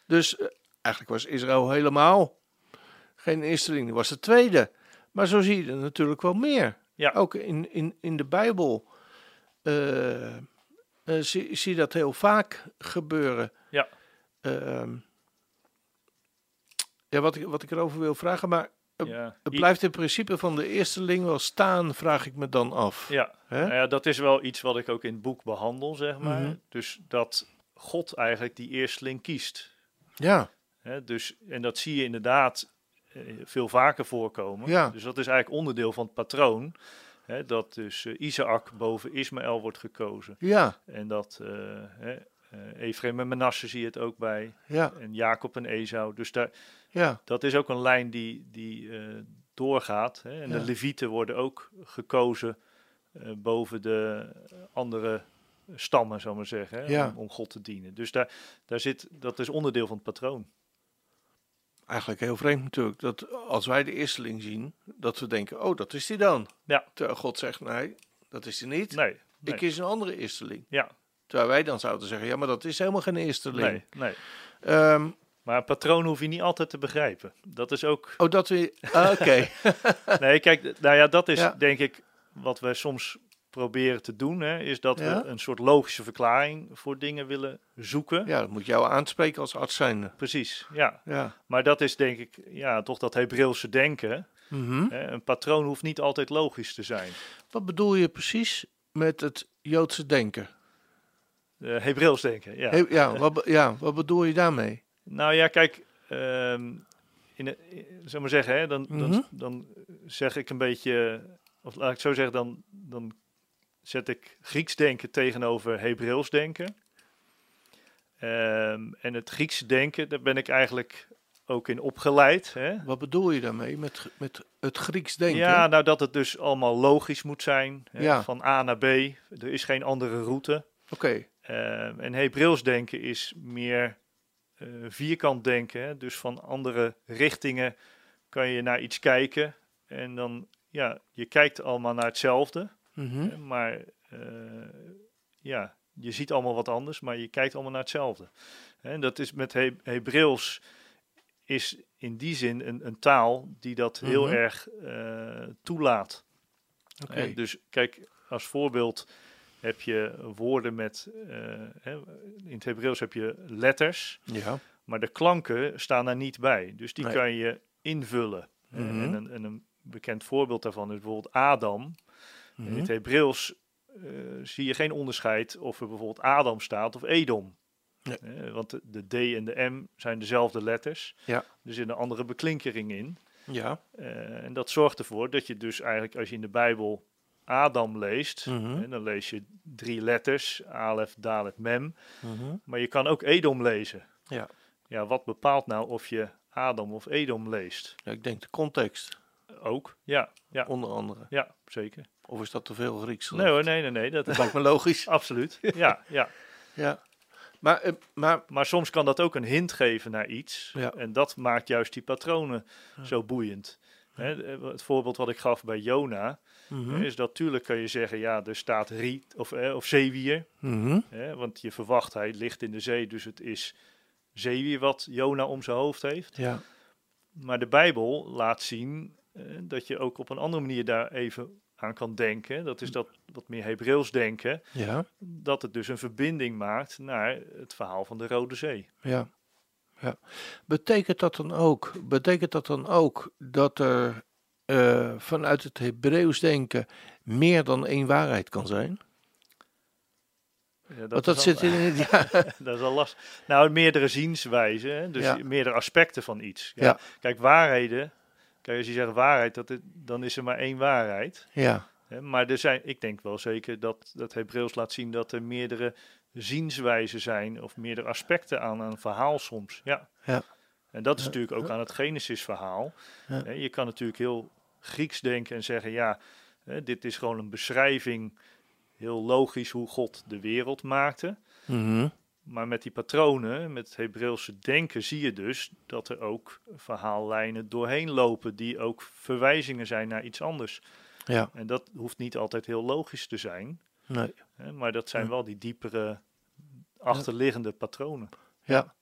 S2: Dus eh, eigenlijk was Israël helemaal geen eersteling, die was de tweede. Maar zo zie je er natuurlijk wel meer.
S3: Ja.
S2: Ook in, in, in de Bijbel eh, eh, zie, zie dat heel vaak gebeuren.
S3: Ja.
S2: Ehm, ja, wat, ik- wat ik erover wil vragen, maar Eh,
S3: ja.
S2: het
S3: I-
S2: blijft in principe van de eersteling wel staan, vraag ik me dan af.
S3: Ja,
S2: Hè?
S3: nou ja, dat is wel iets wat ik ook in het boek behandel, zeg maar.
S2: Mhm.
S3: Dus dat God eigenlijk die eersteling kiest.
S2: ja.
S3: Hè, dus, en dat zie je inderdaad eh, veel vaker voorkomen.
S2: Ja.
S3: Dus dat is eigenlijk onderdeel van het patroon. Hè, dat dus eh, Isaac boven Ismaël wordt gekozen.
S2: ja,
S3: En dat eh hè, eh, Efraim en Manasse zie je het ook bij.
S2: ja,
S3: En Jacob en Esau. Dus daar,
S2: ja,
S3: dat is ook een lijn die, die eh, doorgaat. Hè? En
S2: Ja.
S3: de levieten worden ook gekozen eh, boven de andere stammen, zou ik maar zeggen, hè?
S2: Ja.
S3: Om, om God te dienen. Dus daar, daar zit, dat is onderdeel van het patroon.
S2: Eigenlijk heel vreemd natuurlijk, dat als wij de eersteling zien, dat we denken, oh, dat is die dan.
S3: Ja.
S2: Terwijl God zegt, nee, dat is die niet.
S3: Nee, nee.
S2: Ik kies een andere eersteling.
S3: ja,
S2: Terwijl wij dan zouden zeggen, ja, maar dat is helemaal geen eersteling.
S3: nee, nee.
S2: Ehm,
S3: Maar een patroon hoef je niet altijd te begrijpen. Dat is ook...
S2: oh, dat we... ah, Oké,
S3: Nee, kijk, d- nou ja, dat is
S2: Ja.
S3: denk ik wat wij soms proberen te doen, hè, is dat
S2: Ja.
S3: we een soort logische verklaring voor dingen willen zoeken.
S2: ja, dat moet jou aanspreken als arts zijnde.
S3: Precies, ja.
S2: Ja.
S3: Maar dat is denk ik ja, toch dat Hebreeuwse denken.
S2: Mhm.
S3: Hè? Een patroon hoeft niet altijd logisch te zijn.
S2: Wat bedoel je precies met het Joodse denken?
S3: Eh Hebreeuws denken, ja.
S2: He- ja, wat, be- ja, wat bedoel je daarmee?
S3: nou ja, kijk, ehm in, de- in- zou maar zeggen, hè, dan,
S2: Mhm.
S3: dan, dan zeg ik een beetje, of laat ik het zo zeggen, dan, dan zet ik Grieks denken tegenover Hebreeuws denken. Ehm, en het Griekse denken, daar ben ik eigenlijk ook in opgeleid. Hè?
S2: Wat bedoel je daarmee met, met het Grieks denken?
S3: Ja, nou dat het dus allemaal logisch moet zijn. hè,
S2: Ja.
S3: Van A naar B. Er is geen andere route.
S2: Oké,
S3: Ehm, en Hebreeuws denken is meer eh, vierkant denken. hè, Dus van andere richtingen kan je naar iets kijken. En dan, ja, je kijkt allemaal naar hetzelfde.
S2: Mhm.
S3: hè, Maar eh, ja, je ziet allemaal wat anders, maar je kijkt allemaal naar hetzelfde. En dat is met He Hebreeuws is in die zin een, een taal die dat heel
S2: Mhm.
S3: erg eh, toelaat.
S2: oké.
S3: Hè, Dus kijk, als voorbeeld heb je woorden met, eh, hè, in het Hebreeuws heb je letters,
S2: Ja,
S3: maar de klanken staan daar niet bij. Dus die
S2: Nee.
S3: kan je invullen. Eh,
S2: Mhm.
S3: En, een, en een bekend voorbeeld daarvan is bijvoorbeeld Adam. In
S2: Mhm.
S3: het Hebreeuws eh, zie je geen onderscheid of er bijvoorbeeld Adam staat of Edom.
S2: Nee.
S3: Eh, want de, de D en de M zijn dezelfde letters.
S2: Ja.
S3: Er zit een andere beklinkering in.
S2: ja.
S3: Eh, en dat zorgt ervoor dat je dus eigenlijk als je in de Bijbel Adam leest,
S2: Mhm.
S3: hè, dan lees je drie letters, Alef, Dalet, Mem.
S2: Mhm.
S3: Maar je kan ook Edom lezen.
S2: Ja.
S3: Ja, wat bepaalt nou of je Adam of Edom leest?
S2: ja, ik denk de context,
S3: Ook, ja, ja,
S2: onder andere.
S3: ja, zeker.
S2: Of is dat te veel Grieks?
S3: Nee hoor, nee, nee, nee,
S2: Dat
S3: dat
S2: lijkt me logisch.
S3: absoluut. Ja, ja.
S2: Ja. Maar, eh, maar
S3: Maar soms kan dat ook een hint geven naar iets.
S2: Ja.
S3: En dat maakt juist die patronen zo boeiend. Hè, het voorbeeld wat ik gaf bij Jona,
S2: Mhm.
S3: is dat tuurlijk kan je zeggen, ja, er staat riet of, eh, of zeewier.
S2: Mhm.
S3: Hè, want je verwacht, hij ligt in de zee, dus het is zeewier wat Jona om zijn hoofd heeft.
S2: Ja.
S3: Maar de Bijbel laat zien eh, dat je ook op een andere manier daar even aan kan denken. Dat is
S2: Mm.
S3: dat wat meer Hebreeuws denken.
S2: Ja.
S3: Dat het dus een verbinding maakt naar het verhaal van de Rode Zee.
S2: Ja. ja. Betekent dat dan ook? Betekent dat dan ook dat er eh, vanuit het Hebreeuws denken meer dan één waarheid kan zijn?
S3: Ja, dat
S2: Want
S3: is
S2: dat zit
S3: al-
S2: in het. Ja,
S3: dat is al lastig. Nou, meerdere zienswijzen, hè? dus
S2: Ja.
S3: meerdere aspecten van iets.
S2: Ja.
S3: Kijk, waarheden. Kijk, als je zegt waarheid, dat het, dan is er maar één waarheid.
S2: ja,
S3: Hè? Maar er zijn, ik denk wel zeker dat, dat Hebreeuws laat zien dat er meerdere zienswijzen zijn of meerdere aspecten aan een verhaal soms. Ja.
S2: Ja.
S3: En dat is natuurlijk ook aan het Genesis-verhaal.
S2: Ja.
S3: Hè, Je kan natuurlijk heel Grieks denken en zeggen, ja, hè, dit is gewoon een beschrijving, heel logisch hoe God de wereld maakte.
S2: mhm,
S3: Maar met die patronen, met het Hebreeuwse denken, zie je dus dat er ook verhaallijnen doorheen lopen die ook verwijzingen zijn naar iets anders.
S2: ja,
S3: En dat hoeft niet altijd heel logisch te zijn,
S2: nee,
S3: hè, maar dat zijn wel die diepere achterliggende patronen.
S2: ja.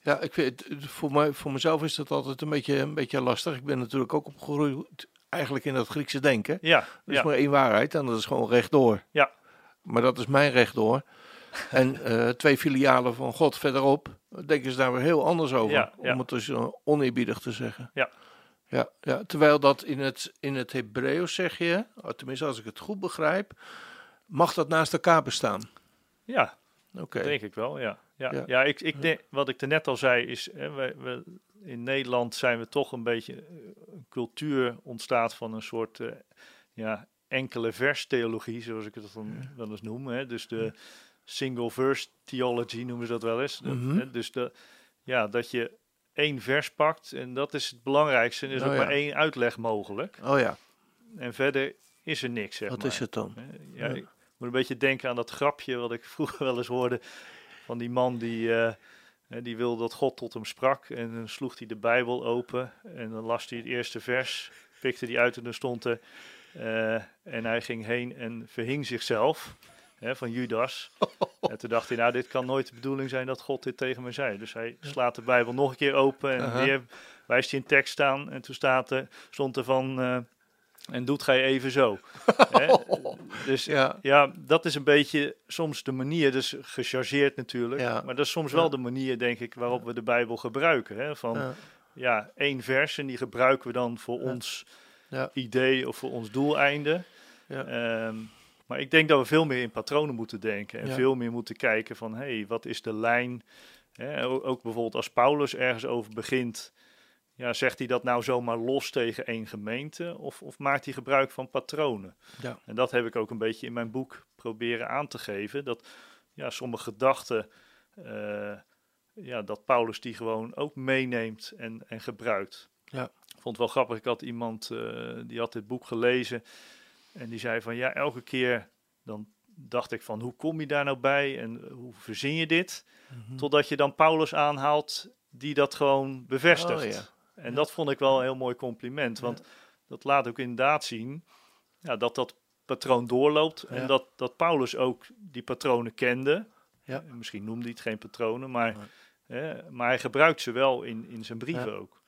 S2: Ja, ik vind, het- het- voor, mij, voor mezelf is dat altijd een beetje, een beetje lastig. Ik ben natuurlijk ook opgegroeid eigenlijk in dat Griekse denken.
S3: Ja,
S2: Er is
S3: ja,
S2: Dus maar één waarheid en dat is gewoon rechtdoor.
S3: Ja.
S2: Maar dat is mijn rechtdoor. En eh, twee filialen van God verderop denken ze daar weer heel anders over.
S3: Ja, ja.
S2: Om het dus eh, oneerbiedig te zeggen.
S3: Ja.
S2: Ja, ja, terwijl dat in het, in het Hebreeuws zeg je, oh, tenminste als ik het goed begrijp, mag dat naast elkaar bestaan.
S3: ja,
S2: Oké.
S3: denk ik wel. Ja, ja.
S2: Ja.
S3: ja. ik, ik denk, wat ik er net al zei is, hè, wij- we, in Nederland zijn we toch een beetje eh, een cultuur ontstaat van een soort eh, ja, enkele verstheologie, zoals ik het dan wel eens noem. Hè? Dus de single verse theology noemen ze dat wel eens. Dat-
S2: Mhm.
S3: hè, Dus de, ja, dat je één vers pakt en dat is het belangrijkste. En er is
S2: Oh
S3: ook
S2: ja.
S3: maar één uitleg mogelijk.
S2: Oh ja,
S3: En verder is er niks, zeg
S2: wat
S3: maar.
S2: is het dan?
S3: Hè, Ja,
S2: Ja.
S3: Ik moet een beetje denken aan dat grapje wat ik vroeger wel eens hoorde van die man die, eh, hè, die wilde dat God tot hem sprak. En dan sloeg hij de Bijbel open en dan las hij het eerste vers, pikte hij uit en dan stond er. eh, en hij ging heen en verhing zichzelf hè, van Judas. En toen dacht hij, nou dit kan nooit de bedoeling zijn dat God dit tegen me zei. Dus hij slaat de Bijbel nog een keer open en
S2: Aha.
S3: weer wijst hij een tekst aan. En toen staat er, stond er van... eh, en doet gij even zo. Hè? Dus
S2: Ja,
S3: ja, dat is een beetje soms de manier, dus gechargeerd natuurlijk,
S2: Ja.
S3: maar dat is soms
S2: Ja.
S3: wel de manier, denk ik, waarop we de Bijbel gebruiken. Hè? Van ja.
S2: ja,
S3: één vers en die gebruiken we dan voor ons
S2: Ja.
S3: idee of voor ons doeleinde.
S2: Ja.
S3: Ehm, maar ik denk dat we veel meer in patronen moeten denken en
S2: Ja.
S3: veel meer moeten kijken van, hé, hey, wat is de lijn? Hè? o- Ook bijvoorbeeld als Paulus ergens over begint, ja, zegt hij dat nou zomaar los tegen één gemeente of, of maakt hij gebruik van patronen?
S2: ja,
S3: En dat heb ik ook een beetje in mijn boek proberen aan te geven. Dat ja, sommige gedachten, eh, ja, dat Paulus die gewoon ook meeneemt en, en gebruikt.
S2: Ja.
S3: Ik vond het wel grappig, ik had iemand eh, die had dit boek gelezen en die zei van ja, elke keer dan dacht ik van hoe kom je daar nou bij en eh, hoe verzin je dit?
S2: Mhm.
S3: Totdat je dan Paulus aanhaalt die dat gewoon bevestigt.
S2: Oh, ja.
S3: En dat vond ik wel een heel mooi compliment. Want dat laat ook inderdaad zien ja, dat dat patroon doorloopt. En
S2: Ja.
S3: dat, dat Paulus ook die patronen kende.
S2: Ja.
S3: Eh, Misschien noemde hij het geen patronen, maar,
S2: Nee.
S3: hè, maar hij gebruikt ze wel in, in zijn brieven ook.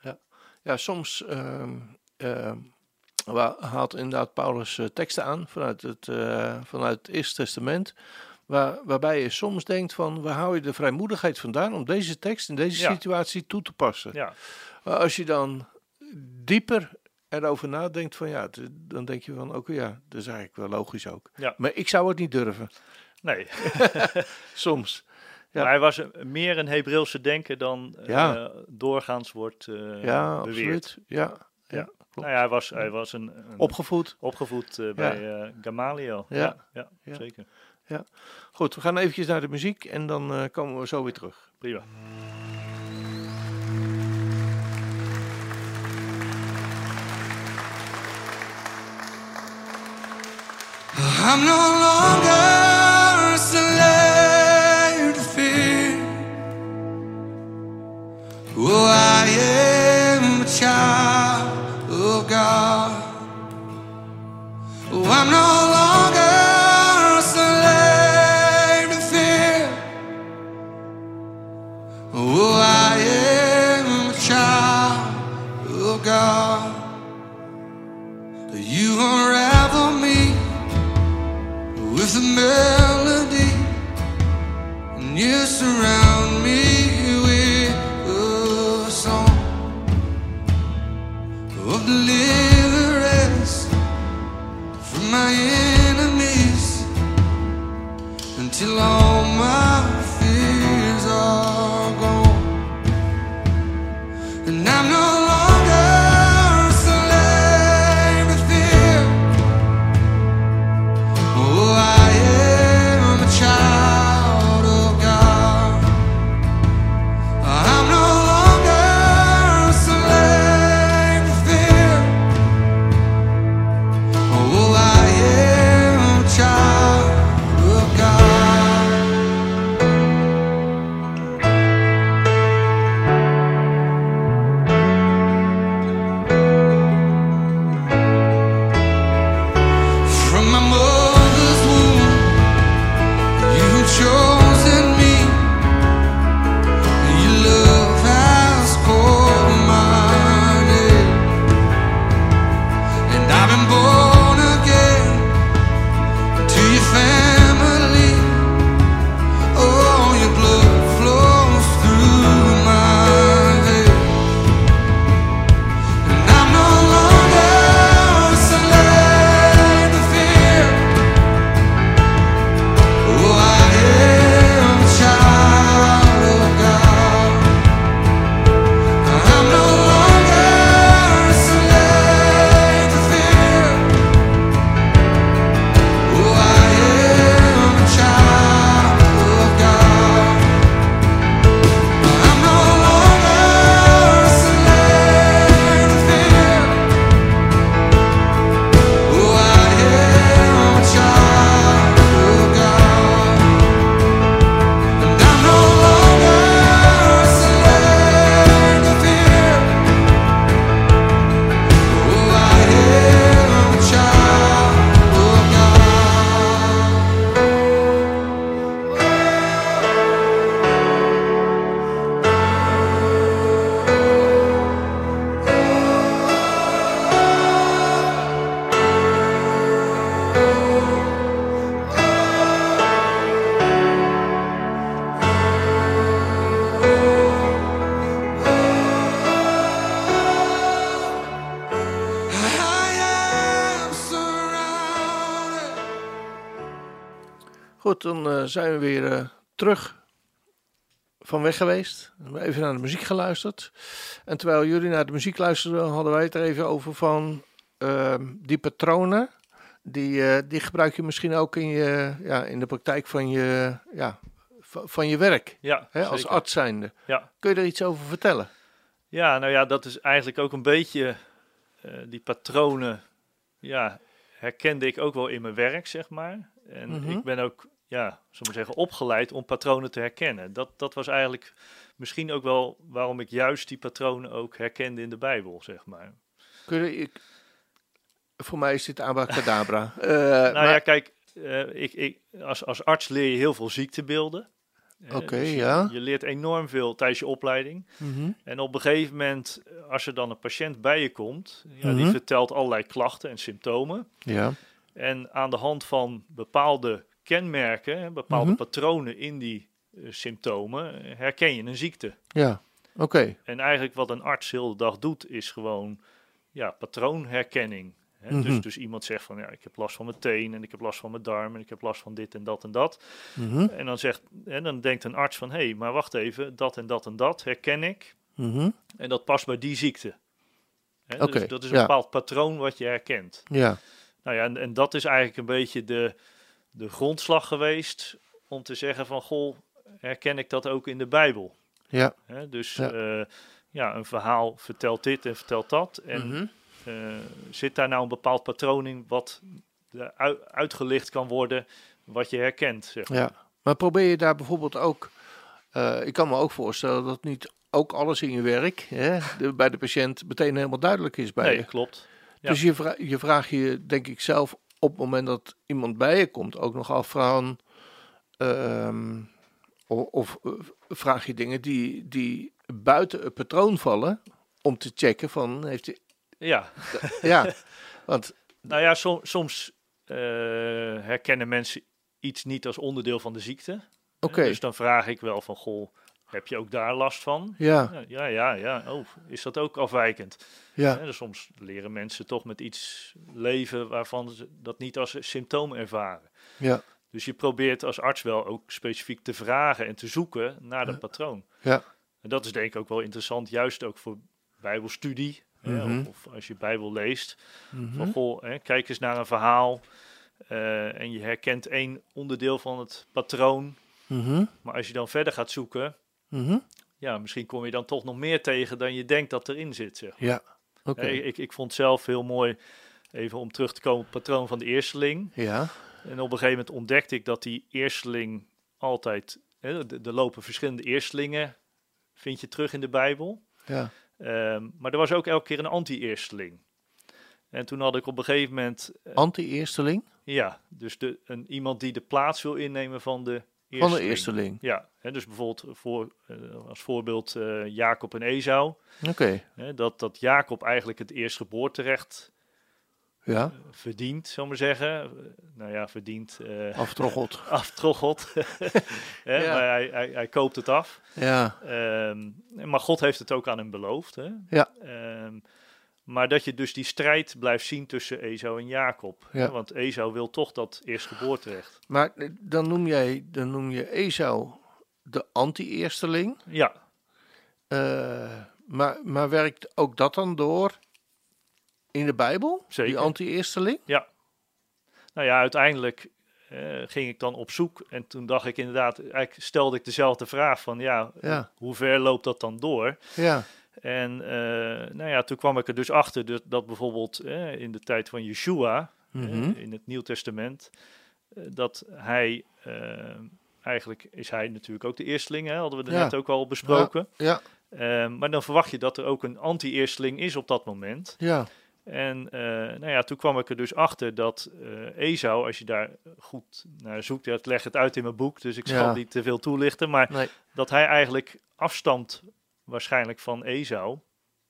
S2: ja soms ehm, ehm, wa- haalt inderdaad Paulus eh, teksten aan vanuit het, eh, vanuit het Eerste Testament. Waar, waarbij je soms denkt van, waar hou je de vrijmoedigheid vandaan om deze tekst in deze
S3: Ja.
S2: situatie toe te passen?
S3: Ja,
S2: Maar als je dan dieper erover nadenkt van ja, het- dan denk je van oké ja, dat is eigenlijk wel logisch ook.
S3: Ja.
S2: Maar ik zou het niet durven,
S3: nee.
S2: soms. Ja.
S3: Maar hij was een- meer een Hebreeuwse denker dan eh,
S2: Ja.
S3: doorgaans wordt eh
S2: ja,
S3: beweerd.
S2: absoluut. Ja,
S3: Nou ja, hij was, hij was een, een
S2: opgevoed.
S3: opgevoed eh, bij eh, Gamaliel.
S2: Ja.
S3: Ja,
S2: Ja.
S3: zeker.
S2: Goed, we gaan eventjes naar de muziek en dan eh, komen we zo weer terug.
S3: Prima.
S4: I'm no longer a slave to fear. Oh, I am a child of God. Oh, I'm no longer a slave to fear. Oh, I am a child of God. You unravel me with a melody, and you surround me with a song of deliverance. until all my fears are gone. And I'm no longer a slave to fear. Oh, I am a child of God. I'm no longer a slave to fear. Oh, I am a child of God. From my mother's womb, you have chosen me. Your love has called my name, and I've been born again to your family. Oh, your blood flows through my veins. And I'm no longer a slave to fear. Oh, I am a child of God. I'm no longer a slave to fear. Oh, I am a child of God. I'm no longer a slave to fear. Oh, I am a child of God, and I'm no longer a slave to fear. Oh, I am a child of God. I am surrounded.
S2: Goed, dan eh, zijn we weer eh, terug van weg geweest. We hebben even naar de muziek geluisterd. En terwijl jullie naar de muziek luisterden, hadden wij het er even over van ehm, die patronen. Die, eh, die gebruik je misschien ook in, je, ja, in de praktijk van je, ja, van, van je werk.
S3: Ja,
S2: Hè, als
S3: zeker.
S2: arts zijnde.
S3: Ja.
S2: Kun je er iets over vertellen?
S3: Ja, nou ja, dat is eigenlijk ook een beetje eh, die patronen. Ja, herkende ik ook wel in mijn werk, zeg maar. En
S2: Mhm.
S3: ik ben ook, ja, zullen we maar zeggen, opgeleid om patronen te herkennen. Dat, dat was eigenlijk misschien ook wel waarom ik juist die patronen ook herkende in de Bijbel, zeg maar.
S2: Kun je, ik, voor mij is dit abracadabra. Eh,
S3: nou
S2: maar-
S3: ja, kijk, eh, ik, ik, als, als arts leer je heel veel ziektebeelden. Eh,
S2: Oké,
S3: je-
S2: ja.
S3: Je leert enorm veel tijdens je opleiding.
S2: Mhm.
S3: En op een gegeven moment, eh, als er dan een patiënt bij je komt, ja,
S2: Mhm.
S3: die vertelt allerlei klachten en symptomen.
S2: ja.
S3: En aan de hand van bepaalde kenmerken, hè, bepaalde
S2: Mhm.
S3: patronen in die eh, symptomen, eh, herken je een ziekte.
S2: Ja, oké.
S3: En eigenlijk wat een arts heel de dag doet, is gewoon ja, patroonherkenning. Hè?
S2: Mhm.
S3: Dus, dus iemand zegt van ja, ik heb last van mijn teen en ik heb last van mijn darm en ik heb last van dit en dat en dat.
S2: Mhm,
S3: En dan, zegt, en dan denkt een arts van hé, hey, maar wacht even, dat en dat en dat herken ik.
S2: mhm.
S3: En dat past bij die ziekte. Hè, dus
S2: Oké,
S3: dat is een
S2: ja.
S3: bepaald patroon wat je herkent.
S2: Ja.
S3: Nou ja, en, en dat is eigenlijk een beetje de, de grondslag geweest om te zeggen van goh, herken ik dat ook in de Bijbel?
S2: Ja.
S3: Hè, dus
S2: Ja.
S3: ja. ja, een verhaal vertelt dit en vertelt dat. En
S2: Mhm.
S3: eh, zit daar nou een bepaald patroon in wat de- ui- uitgelicht kan worden, wat je herkent? Zeg. maar.
S2: Ja, maar probeer je daar bijvoorbeeld ook. eh, ik kan me ook voorstellen dat niet ook alles in je werk hè, de- bij de patiënt meteen helemaal duidelijk is bij
S3: Nee,
S2: je.
S3: klopt. ja.
S2: Dus je, vra je vraagt je, denk ik zelf, op het moment dat iemand bij je komt, ook nog af van. ehm, o- of eh, vraag je dingen die, die buiten het patroon vallen, om te checken van heeft hij.
S3: Ja,
S2: Ja, want.
S3: nou ja, som- soms eh, herkennen mensen iets niet als onderdeel van de ziekte.
S2: Oké,
S3: Dus dan vraag ik wel van, goh, heb je ook daar last van?
S2: ja,
S3: Ja, ja, ja. ja. Oh, is dat ook afwijkend?
S2: ja,
S3: Hè, dus soms leren mensen toch met iets leven waarvan ze dat niet als symptoom ervaren.
S2: ja.
S3: Dus je probeert als arts wel ook specifiek te vragen en te zoeken naar dat patroon.
S2: Ja.
S3: En dat is denk ik ook wel interessant, juist ook voor bijbelstudie. Hè,
S2: Mhm.
S3: of, of als je bijbel leest,
S2: Mhm.
S3: van goh, hè, kijk eens naar een verhaal eh, en je herkent één onderdeel van het patroon.
S2: Mhm.
S3: Maar als je dan verder gaat zoeken,
S2: Mhm.
S3: ja, misschien kom je dan toch nog meer tegen dan je denkt dat erin zit. Zeg.
S2: Ja, oké.
S3: Hè, Ik, ik vond zelf heel mooi, even om terug te komen op het patroon van de eersteling.
S2: Ja,
S3: En op een gegeven moment ontdekte ik dat die eersteling altijd, hè, d- er lopen verschillende eerstelingen, vind je terug in de Bijbel.
S2: ja.
S3: Ehm, maar er was ook elke keer een anti-eersteling. En toen had ik op een gegeven moment, eh,
S2: Anti-eersteling
S3: ja, dus de, een, iemand die de plaats wil innemen van de eersteling.
S2: van de eersteling.
S3: Ja, hè, dus bijvoorbeeld voor, eh, als voorbeeld eh, Jacob en Esau.
S2: Oké,
S3: Hè, dat, dat Jacob eigenlijk het eerstgeboorterecht
S2: ja.
S3: verdient, zullen we maar zeggen. Eh, nou ja, verdient, eh
S2: Aftroggeld.
S3: aftroggelt. Hè,
S2: Oh. Ja.
S3: Maar hij, hij, hij koopt het af.
S2: Ja,
S3: Ehm, maar God heeft het ook aan hem beloofd. Hè?
S2: Ja.
S3: Ehm, maar dat je dus die strijd blijft zien tussen Esau en Jacob.
S2: Ja.
S3: Hè? Want Esau wil toch dat eerstgeboorterecht.
S2: maar eh, dan noem, jij, dan noem je Esau de anti-eersteling.
S3: Ja,
S2: Eh, maar, maar werkt ook dat dan door in de Bijbel?
S3: Zeker.
S2: Die anti-eersteling?
S3: nou ja, uiteindelijk eh, ging ik dan op zoek. En toen dacht ik inderdaad, eigenlijk stelde ik dezelfde vraag van ja,
S2: Ja.
S3: hoe ver loopt dat dan door?
S2: Ja,
S3: En eh, nou ja, toen kwam ik er dus achter dat, dat bijvoorbeeld eh, in de tijd van Yeshua, eh,
S2: Mhm.
S3: in het Nieuw Testament, eh, dat hij, eh, eigenlijk is hij natuurlijk ook de eersteling, hè, hadden we er
S2: Ja.
S3: net ook al besproken.
S2: ja,
S3: Eh, maar dan verwacht je dat er ook een anti-eersteling is op dat moment.
S2: ja.
S3: En eh, nou ja, toen kwam ik er dus achter dat eh Esau, als je daar goed naar zoekt, ja, ik leg het uit in mijn boek, dus ik zal
S2: Ja.
S3: niet te veel toelichten, maar
S2: Nee.
S3: dat hij eigenlijk afstamt waarschijnlijk van Esau.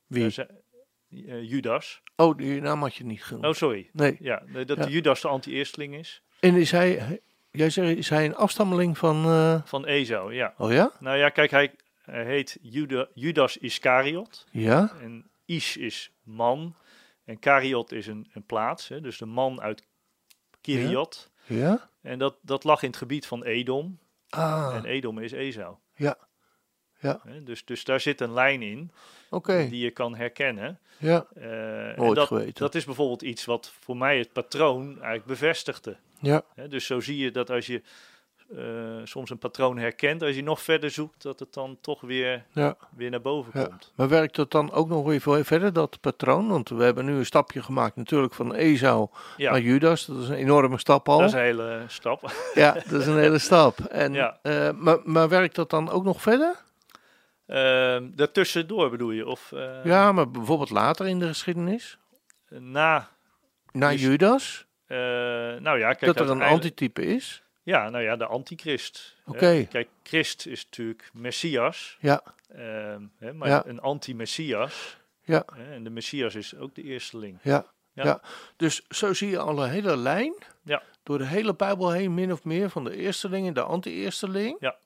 S2: Wie?
S3: Eh, ze- eh, Judas.
S2: Oh, die naam had je niet genoemd.
S3: Oh, sorry.
S2: Nee.
S3: Ja, nee, dat
S2: Ja.
S3: Judas de anti-eersteling is.
S2: En is hij, jij zegt, is hij een afstammeling van... eh,
S3: Van Esau, ja.
S2: Oh ja?
S3: Nou ja, kijk, hij, hij heet Juda- Judas Iscariot.
S2: Ja,
S3: En Is is man. En Kariot is een, een plaats. Hè, dus de man uit Kiriot.
S2: ja.
S3: En dat, dat lag in het gebied van Edom.
S2: Ah,
S3: En Edom is Esau.
S2: ja, Ja.
S3: Hè, dus, dus daar zit een lijn in
S2: oké.
S3: die je kan herkennen.
S2: Ja,
S3: Eh, en
S2: Nooit
S3: dat,
S2: geweten.
S3: dat is bijvoorbeeld iets wat voor mij het patroon eigenlijk bevestigde.
S2: ja,
S3: Hè, dus zo zie je dat als je eh, soms een patroon herkent, als je nog verder zoekt, dat het dan toch weer,
S2: ja.
S3: weer naar boven
S2: Ja.
S3: komt.
S2: Maar werkt dat dan ook nog weer veel verder, dat patroon? Want we hebben nu een stapje gemaakt natuurlijk van Esau
S3: Ja,
S2: naar Judas. Dat is een enorme stap al.
S3: dat is een hele stap.
S2: Ja, dat is een hele stap. En,
S3: Ja.
S2: eh, maar, maar werkt dat dan ook nog verder?
S3: Ehm daartussendoor bedoel je? Of eh,
S2: ja, maar bijvoorbeeld later in de geschiedenis,
S3: na.
S2: naar
S3: Dus-
S2: Judas,
S3: eh, nou ja, kijk,
S2: dat er een
S3: uiteindelijk-
S2: antitype is.
S3: Ja, nou ja, de antichrist. hè.
S2: Oké.
S3: Kijk, Christ is natuurlijk Messias,
S2: Ja,
S3: ehm, hè, maar
S2: Ja.
S3: een anti-Messias.
S2: Ja.
S3: hè, en de Messias is ook de eersteling.
S2: ja, ja.
S3: Ja.
S2: Dus zo zie je al een hele lijn
S3: Ja.
S2: door de hele Bijbel heen, min of meer, van de eersteling en de anti-eersteling.
S3: Ja.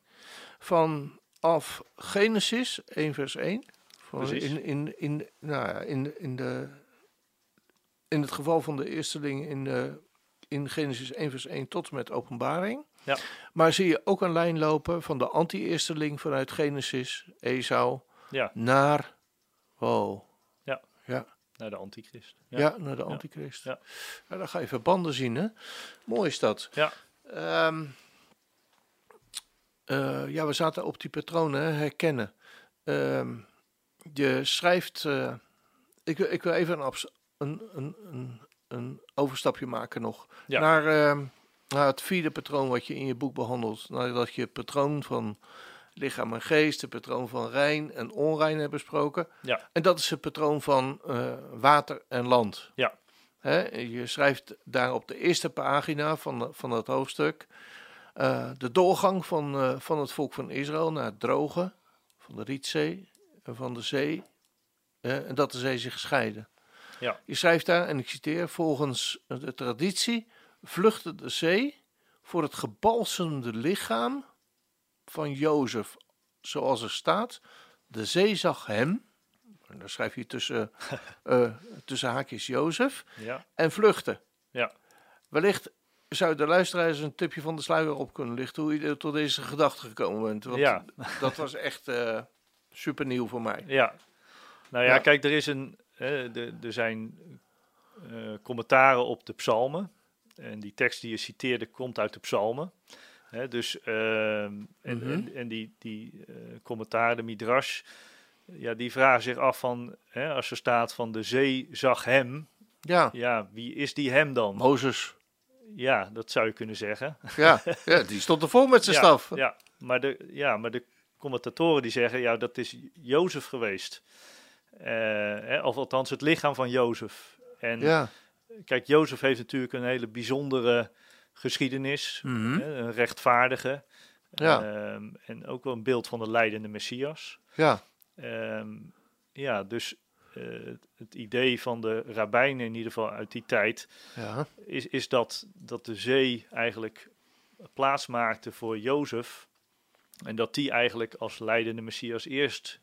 S2: Vanaf Genesis 1 vers 1. Van
S3: Precies.
S2: in, in, in, nou ja, in, in, de, in het geval van de eersteling in, de, in Genesis 1 vers 1 tot en met openbaring.
S3: Ja.
S2: Maar zie je ook een lijn lopen van de anti-eersteling vanuit Genesis, Esau,
S3: Ja,
S2: naar... Wow.
S3: naar de antichrist.
S2: Ja, naar de antichrist. Ja.
S3: Ja.
S2: dan ga je verbanden zien, hè? Mooi is dat.
S3: Ja.
S2: Ehm, eh, ja, we zaten op die patronen, hè, herkennen. Ehm, je schrijft... eh, ik, wil- ik wil even een, abs- een, een, een, een overstapje maken nog.
S3: Ja.
S2: Naar, ehm, naar het vierde patroon wat je in je boek behandelt. Nadat je het patroon van lichaam en geest, het patroon van rein en onrein hebt besproken.
S3: Ja.
S2: En dat is het patroon van eh, water en land.
S3: Ja.
S2: Hè, je schrijft daar op de eerste pagina van, van dat hoofdstuk eh, de doorgang van, eh, van het volk van Israël naar het droge van de Rietzee en van de zee. eh, en dat de zee zich scheiden.
S3: Ja.
S2: Je schrijft daar, en ik citeer, volgens de traditie vluchtte de zee voor het gebalsemde lichaam van Jozef. Zoals er staat, de zee zag hem, en dan schrijf je tussen, eh, tussen haakjes Jozef,
S3: Ja,
S2: en vluchten.
S3: Ja.
S2: Wellicht zou de luisteraars een tipje van de sluier op kunnen lichten hoe je er tot deze gedachte gekomen bent? Want
S3: Ja.
S2: dat was echt eh super nieuw voor mij.
S3: Ja. Nou ja,
S2: Ja.
S3: kijk, er, is een, hè, de- er zijn eh, commentaren op de psalmen. En die tekst die je citeerde komt uit de psalmen. Hè, dus, ehm, en,
S2: Mhm.
S3: en, en die, die eh commentaren, de midrash, ja, die vragen zich af van, hè, als er staat van de zee zag hem,
S2: Ja,
S3: ja, wie is die hem
S2: Oh.
S3: dan?
S2: Mozes.
S3: Ja, dat zou je kunnen zeggen.
S2: Ja, ja, die stond er vol met zijn
S3: ja,
S2: staf.
S3: Ja, maar de, ja, maar de commentatoren die zeggen, ja, dat is Jozef geweest. Eh, hè, of althans het lichaam van Jozef. En
S2: Ja.
S3: kijk, Jozef heeft natuurlijk een hele bijzondere geschiedenis.
S2: Mhm.
S3: hè, een rechtvaardige.
S2: Ja.
S3: Ehm, en ook wel een beeld van de leidende Messias.
S2: ja,
S3: Ehm, ja, dus eh, het idee van de rabbijnen in ieder geval uit die tijd
S2: ja,
S3: is, is dat, dat de zee eigenlijk plaats maakte voor Jozef. En dat die eigenlijk als leidende Messias eerst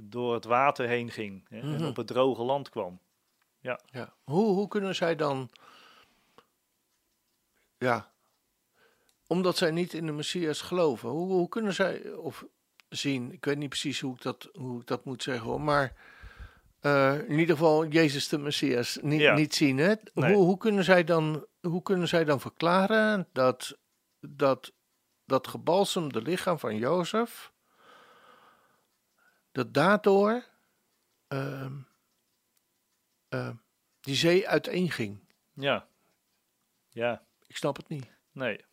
S3: door het water heen ging hè,
S2: Mhm.
S3: en op het droge land kwam.
S2: ja. Hoe, hoe kunnen zij dan... Ja, omdat zij niet in de Messias geloven. Hoe, hoe kunnen zij, of zien, ik weet niet precies hoe ik dat, hoe ik dat moet zeggen hoor, maar eh, in ieder geval Jezus de Messias niet,
S3: Ja.
S2: niet zien. Hè?
S3: Nee.
S2: Hoe, hoe, kunnen zij dan, hoe kunnen zij dan verklaren dat dat, dat gebalsemde lichaam van Jozef, dat daardoor ehm, ehm, die zee uiteenging?
S3: Ja, ja,
S2: Ik snap het niet.
S3: nee,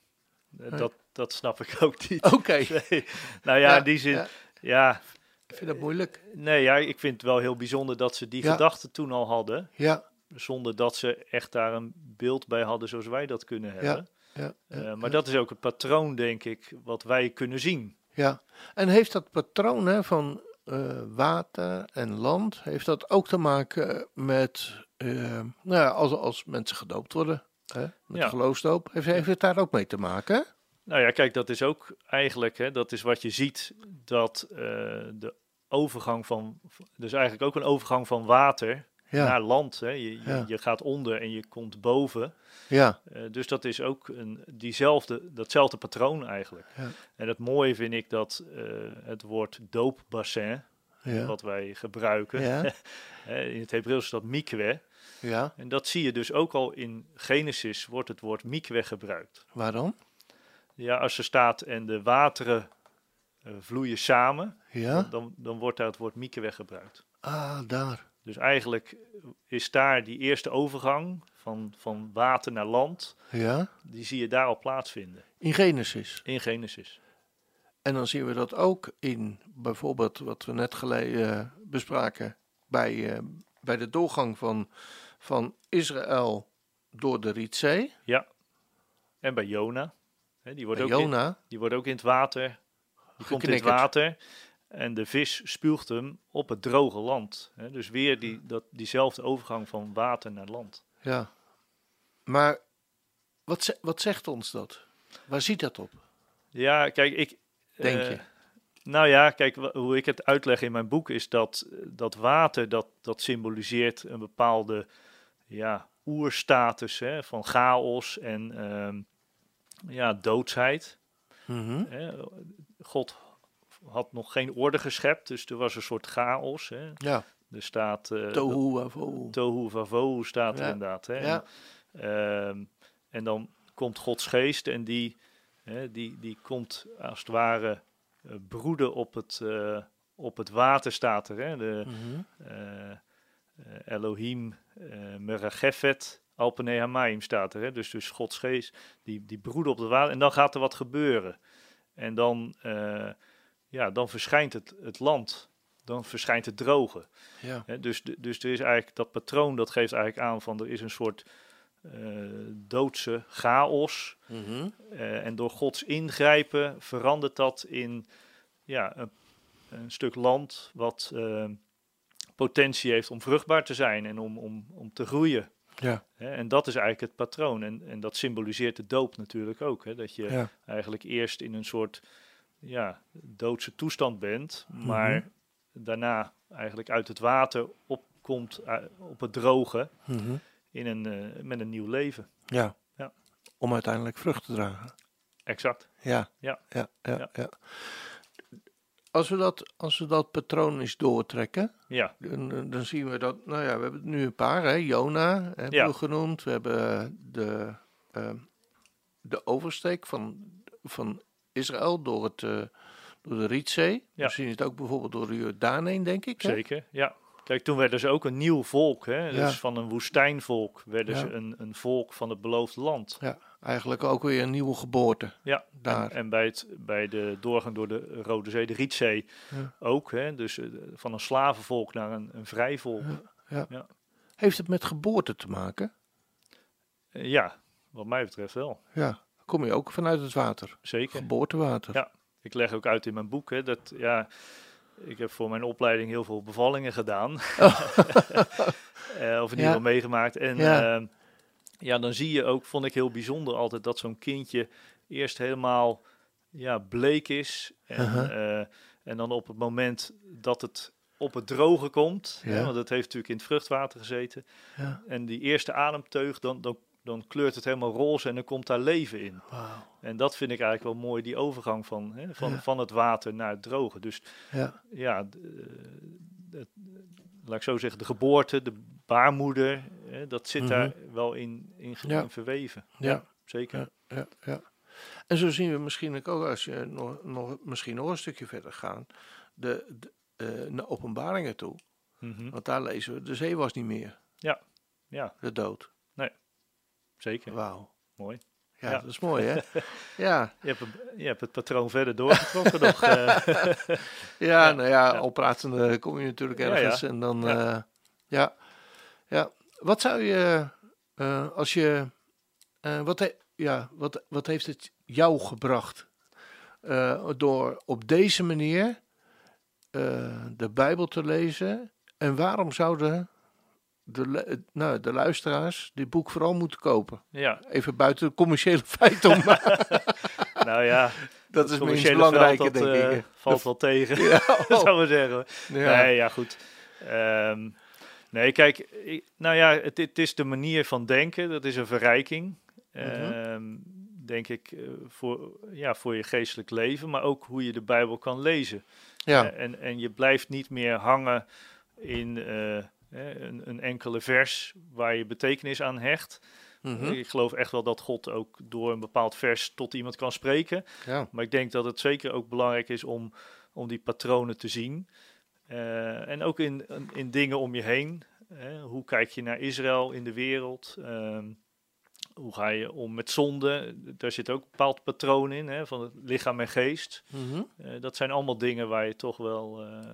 S3: Eh, Dat, dat snap ik ook niet.
S2: Oké,
S3: Nee. Nou ja,
S2: Oh. Ja,
S3: in die zin,
S2: ja.
S3: ja.
S2: ik vind dat moeilijk.
S3: nee, ja, ik vind het wel heel bijzonder dat ze die
S2: Ja.
S3: gedachten toen al hadden,
S2: Ja,
S3: zonder dat ze echt daar een beeld bij hadden zoals wij dat kunnen hebben.
S2: ja, ja,
S3: Eh, maar dat is ook het patroon, denk ik, wat wij kunnen zien.
S2: Ja, en heeft dat patroon hè, van eh, water en land, heeft dat ook te maken met, eh, nou ja, als, als mensen gedoopt worden, hè, met
S3: Ja.
S2: geloofsdoop, heeft, heeft het daar ook mee te maken?
S3: Nou ja, kijk, dat is ook eigenlijk, hè, dat is wat je ziet, dat eh, de overgang van, dus eigenlijk ook een overgang van water
S2: Ja,
S3: naar land. Hè. Je, je,
S2: Ja.
S3: je gaat onder en je komt boven.
S2: ja,
S3: Eh, dus dat is ook een, diezelfde, datzelfde patroon eigenlijk.
S2: Ja.
S3: En het mooie vind ik dat eh, het woord doopbassin,
S2: ja,
S3: wat wij gebruiken,
S2: Ja.
S3: hè, in het Hebreeuws is dat mikwe.
S2: ja.
S3: En dat zie je dus ook al in Genesis wordt het woord mikwe gebruikt.
S2: Waarom?
S3: Ja, als er staat en de wateren eh, vloeien samen,
S2: Ja,
S3: dan, dan wordt daar het woord mikwe gebruikt.
S2: ah, daar.
S3: Dus eigenlijk is daar die eerste overgang van, van water naar land,
S2: Ja,
S3: die zie je daar al plaatsvinden,
S2: in Genesis.
S3: in Genesis.
S2: En dan zien we dat ook in bijvoorbeeld wat we net geleden eh, bespraken bij, eh, bij de doorgang van, van Israël door de Rietzee,
S3: Ja. En bij Jona. Hè, die, wordt
S2: bij
S3: ook In,
S2: Jona.
S3: die wordt ook in het water. Die komt in het
S2: Geknikkerd.
S3: water. En de vis spuugt hem op het droge land. Hè, dus weer die, dat, diezelfde overgang van water naar land.
S2: Ja. Maar wat, ze- wat zegt ons dat? Waar ziet dat op?
S3: Ja, kijk, ik.
S2: Denk
S3: eh,
S2: je?
S3: Nou ja, kijk, wa- hoe ik het uitleg in mijn boek is dat eh, dat water dat, dat symboliseert een bepaalde ja, oerstatus hè, van chaos en ehm, ja, doodsheid.
S2: Mhm.
S3: Hè, God had nog geen orde geschept, dus er was een soort chaos. Hè.
S2: Ja.
S3: Er staat eh,
S2: Tohu wavohu.
S3: dat- tohu vavohu staat er
S2: Ja,
S3: inderdaad. Hè.
S2: Ja.
S3: En, ehm, en dan komt Gods geest en die, hè, die, die komt als het ware eh, broeden op het, eh, op het water, staat er. Hè. De,
S2: Mhm.
S3: eh, eh, Elohim eh Meragefet Alpene Hamaim staat er. Hè? Dus, dus Gods geest, die, die broeden op het water. En dan gaat er wat gebeuren. En dan, eh, ja, dan verschijnt het, het land. Dan verschijnt het droge.
S2: Ja.
S3: Hè? Dus, de- dus er is eigenlijk dat patroon, dat geeft eigenlijk aan van er is een soort eh, doodse chaos.
S2: Mhm.
S3: Eh, en door Gods ingrijpen verandert dat in ja, een, een stuk land wat eh, potentie heeft om vruchtbaar te zijn en om, om, om te groeien.
S2: Ja.
S3: Hè, en dat is eigenlijk het patroon. En, en dat symboliseert de doop natuurlijk ook. Hè? Dat je
S2: Ja.
S3: eigenlijk eerst in een soort ja, doodse toestand bent,
S2: Mhm.
S3: maar daarna eigenlijk uit het water opkomt eh, op het droge
S2: Mhm.
S3: in een, eh, met een nieuw leven.
S2: Ja.
S3: Ja.
S2: om uiteindelijk vrucht te dragen.
S3: Exact.
S2: Ja,
S3: Ja.
S2: ja, ja. ja.
S3: Ja.
S2: Als, we dat, als we dat patroon eens doortrekken,
S3: Ja,
S2: eh, dan, dan zien we dat, nou ja, we hebben nu een paar, hè. Jona hebben
S3: Ja.
S2: we genoemd. We hebben eh, de, ehm, de oversteek van, van Israël door, het, eh, door de Rietzee.
S3: Ja.
S2: We zien het ook bijvoorbeeld door de Jordaan heen, denk ik. hè?
S3: zeker. Ja. Kijk, toen werden ze ook een nieuw volk. Hè?
S2: Ja.
S3: Dus van een woestijnvolk werden
S2: Ja.
S3: ze een, een volk van het beloofd land.
S2: Ja, eigenlijk ook weer een nieuwe geboorte.
S3: Ja,
S2: Daar.
S3: En, en bij, het, bij de doorgang door de Rode Zee, de Rietzee
S2: Ja.
S3: ook. Hè? Dus eh, van een slavenvolk naar een, een vrij volk. Eh,
S2: Heeft het met geboorte te maken?
S3: Eh, Ja. wat mij betreft wel.
S2: Ja, kom je ook vanuit het water.
S3: Zeker.
S2: Geboortewater.
S3: Ja. Ik leg ook uit in mijn boek hè, dat ja, ik heb voor mijn opleiding heel veel bevallingen gedaan. Eh, of
S2: Oh.
S3: in ieder
S2: Ja.
S3: geval meegemaakt. En
S2: Ja.
S3: ja. ja, dan zie je ook, vond ik heel bijzonder altijd, dat zo'n kindje eerst helemaal ja, bleek is. En,
S2: Aha.
S3: eh, en dan op het moment dat het op het droge komt,
S2: Ja.
S3: hè, want het heeft natuurlijk in het vruchtwater gezeten.
S2: Ja.
S3: En die eerste ademteug, dan, dan, dan kleurt het helemaal roze en dan komt daar leven in.
S2: Wauw.
S3: En dat vind ik eigenlijk wel mooi, die overgang van, hè, van,
S2: Ja.
S3: van het water naar het droge. Dus
S2: Ja,
S3: ja, d- eh, het- laat ik zo zeggen, de geboorte, de baarmoeder, hè, dat zit daar wel in, in, ge-
S2: Mhm. Ja.
S3: in verweven.
S2: Ja.
S3: zeker.
S2: Ja. ja, ja. En zo zien we misschien ook, als je nog, nog, misschien nog een stukje verder gaat, de, de, eh, naar openbaringen toe.
S3: Mhm.
S2: Want daar lezen we, de zee was niet meer,
S3: Ja,
S2: de dood.
S3: zeker.
S2: Wauw.
S3: Mooi.
S2: Ja,
S3: Ja.
S2: dat is mooi, hè? ja.
S3: Je hebt, een- je hebt het patroon verder doorgetrokken nog. eh.
S2: Ja, nou ja, al pratende kom je natuurlijk
S3: Ja, ja.
S2: ergens. En dan, ja.
S3: Ja.
S2: ja. ja. Wat zou je, eh, als je, eh, wat, he- ja, wat, wat heeft het jou gebracht? eh, door op deze manier eh, de Bijbel te lezen. En waarom zouden de, lu- nou, de luisteraars dit boek vooral moeten kopen?
S3: ja,
S2: Even buiten de commerciële feiten om. maar
S3: nou ja.
S2: dat is minstens
S3: het commerciële
S2: belangrijker,
S3: veld, dat,
S2: denk
S3: eh,
S2: ik.
S3: Valt wel tegen,
S2: Ja, oh,
S3: zou ik zeggen.
S2: ja.
S3: Nee, ja, goed. Ehm, nee, kijk, ik- nou ja, het, het is de manier van denken. Dat is een verrijking,
S2: Mhm.
S3: ehm, denk ik, eh, voor, ja, voor je geestelijk leven. Maar ook hoe je de Bijbel kan lezen.
S2: ja.
S3: Eh, En, en je blijft niet meer hangen in eh, eh, een, een enkele vers waar je betekenis aan hecht.
S2: mhm,
S3: Ik geloof echt wel dat God ook door een bepaald vers tot iemand kan spreken.
S2: ja.
S3: Maar ik denk dat het zeker ook belangrijk is om, om die patronen te zien. Eh, en ook in, in- in dingen om je heen. Hè? Hoe kijk je naar Israël in de wereld? Ehm, hoe ga je om met zonde? Daar zit ook een bepaald patroon in, hè? van het lichaam en geest.
S2: mhm.
S3: Eh, dat zijn allemaal dingen waar je toch wel eh,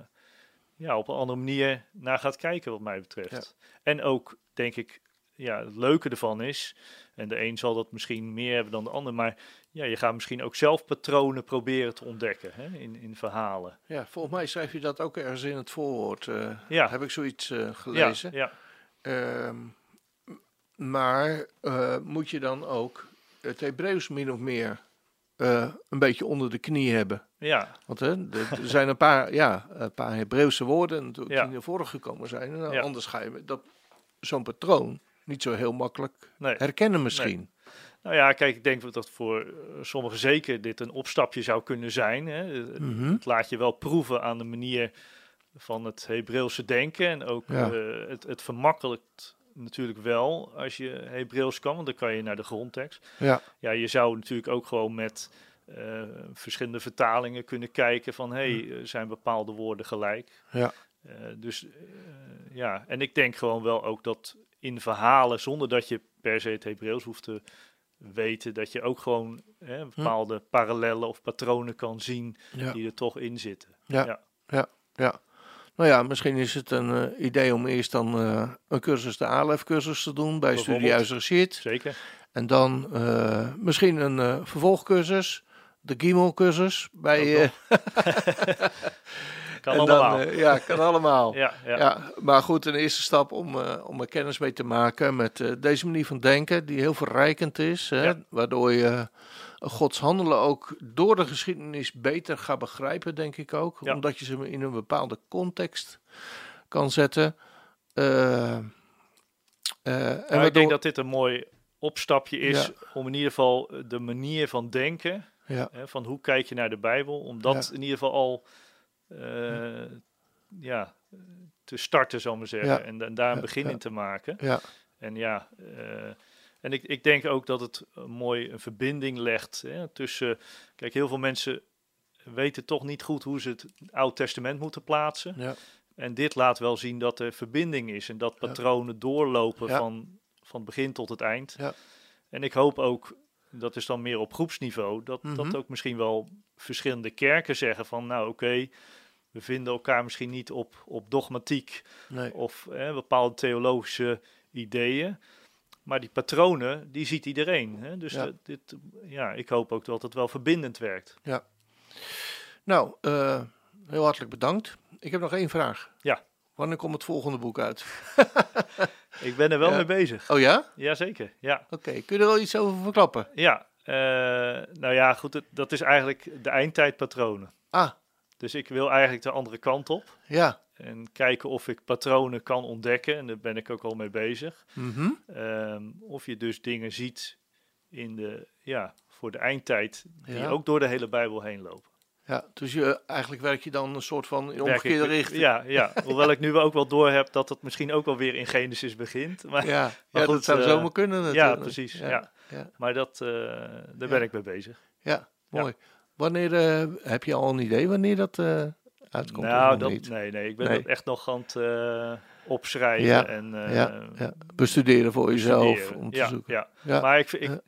S3: ja, op een andere manier naar gaat kijken, wat mij betreft. En ook, denk ik, ja, het leuke ervan is, en de een zal dat misschien meer hebben dan de ander, maar ja, je gaat misschien ook zelf patronen proberen te ontdekken hè, in, in verhalen.
S2: Ja, volgens mij schrijf je dat ook ergens in het voorwoord. eh,
S3: Ja.
S2: Heb ik zoiets eh,
S3: Ja,
S2: gelezen.
S3: ja,
S2: Ehm, m- maar eh, moet je dan ook het Hebreeuws min of meer eh, een beetje onder de knie hebben?
S3: ja,
S2: Want hè, er er zijn een paar, ja, een paar Hebreeuwse woorden natuurlijk
S3: Ja.
S2: die naar voren gekomen zijn. En dan
S3: Ja.
S2: Anders ga je met dat, zo'n patroon niet zo heel makkelijk
S3: nee.
S2: herkennen misschien.
S3: Nou ja, kijk, ik denk dat voor eh, sommigen zeker dit een opstapje zou kunnen zijn. Hè. Het-
S2: Mhm.
S3: Het laat je wel proeven aan de manier van het Hebreeuwse denken. En ook
S2: Ja.
S3: eh, het, het vermakkelijkt natuurlijk wel als je Hebreeuws kan, want dan kan je naar de grondtekst.
S2: Ja,
S3: Ja, je zou natuurlijk ook gewoon met eh, verschillende vertalingen kunnen kijken van... hé,
S2: Mhm.
S3: hey, eh, zijn bepaalde woorden gelijk?
S2: ja,
S3: Eh, dus eh, ja, en ik denk gewoon wel ook dat in verhalen, zonder dat je per se het Hebreeuws hoeft te weten, dat je ook gewoon hè, bepaalde parallellen of patronen kan zien
S2: Hm. ja.
S3: die er toch in zitten.
S2: Ja, ja,
S3: Ja.
S2: ja. Nou ja, misschien is het een eh, idee om eerst dan eh, een cursus, de ALEF-cursus te doen bij
S3: Bijvoorbeeld.
S2: Studiehuis Regeert.
S3: Zeker.
S2: En dan eh, misschien een eh, vervolgcursus, de GIMO-cursus bij...
S3: Ook
S2: eh,
S3: nog. Kan
S2: en
S3: allemaal.
S2: Dan, eh, ja, kan allemaal. ja.
S3: ja, ja,
S2: maar goed, een eerste stap om, eh, om er kennis mee te maken met eh, deze manier van denken, die heel verrijkend is. Hè,
S3: Ja.
S2: Waardoor je eh, Gods handelen ook door de geschiedenis beter gaat begrijpen, denk ik ook.
S3: Ja.
S2: Omdat je ze in een bepaalde context kan zetten. Eh, eh, en
S3: Maar ik
S2: waardoor-
S3: denk dat dit een mooi opstapje is
S2: Ja.
S3: om in ieder geval eh, de manier van denken,
S2: ja.
S3: hè, van hoe kijk je naar de Bijbel, om dat
S2: Ja.
S3: in ieder geval al eh, ja, te starten, zal ik maar zeggen,
S2: Ja.
S3: en, da- daar een
S2: Ja,
S3: begin
S2: ja.
S3: in te maken.
S2: ja.
S3: En ja, eh, en ik, ik denk ook dat het een mooi een verbinding legt hè, tussen. Kijk, heel veel mensen weten toch niet goed hoe ze het Oud Testament moeten plaatsen.
S2: Ja.
S3: En dit laat wel zien dat er verbinding is en dat patronen doorlopen
S2: Ja.
S3: van, van het begin tot het eind.
S2: Ja.
S3: En ik hoop ook, dat is dan meer op groepsniveau, dat,
S2: Mhm.
S3: dat ook misschien wel verschillende kerken zeggen van nou oké, we vinden elkaar misschien niet op, op dogmatiek
S2: Nee.
S3: of hè, bepaalde theologische ideeën. Maar die patronen, die ziet iedereen. Hè? Dus
S2: Ja.
S3: dat- dit, ja, ik hoop ook dat het wel verbindend werkt.
S2: Nou, eh, heel hartelijk bedankt. Ik heb nog één vraag.
S3: Ja.
S2: Wanneer komt het volgende boek uit?
S3: Ik ben er wel
S2: Ja.
S3: mee bezig.
S2: Oh ja?
S3: Jazeker, ja.
S2: Oké, kun je er al iets over verklappen?
S3: Ja, eh, nou ja, goed, het- dat is eigenlijk de eindtijdpatronen.
S2: Ah,
S3: Dus ik wil eigenlijk de andere kant op.
S2: ja.
S3: En kijken of ik patronen kan ontdekken. En daar ben ik ook al mee bezig.
S2: Mhm.
S3: Ehm, of je dus dingen ziet in de, ja, voor de eindtijd. Die
S2: Ja.
S3: ook door de hele Bijbel heen lopen.
S2: Ja, dus je, eigenlijk werk je dan een soort van in de
S3: Werk ik-
S2: omgekeerde richting.
S3: Ja, ja, hoewel ik nu ook wel doorheb dat het misschien ook wel weer in Genesis begint. Maar, ja,
S2: ja, ja,
S3: goed,
S2: dat zou
S3: eh,
S2: zomaar kunnen natuurlijk.
S3: precies. Ja,
S2: ja.
S3: Maar dat, eh, daar ben
S2: Ja.
S3: ik mee bezig.
S2: Ja, mooi. Wanneer, eh, heb je al een idee wanneer dat eh, uitkomt? of
S3: nou,
S2: nog
S3: dat,
S2: niet?
S3: nee, nee, ik ben
S2: Nee.
S3: dat echt nog aan het eh, opschrijven
S2: Ja,
S3: en
S2: ja,
S3: eh,
S2: ja. Bestuderen voor jezelf,
S3: studeren.
S2: om te
S3: ja,
S2: zoeken.
S3: Ja.
S2: Ja.
S3: Maar ik, ik,
S2: Ja.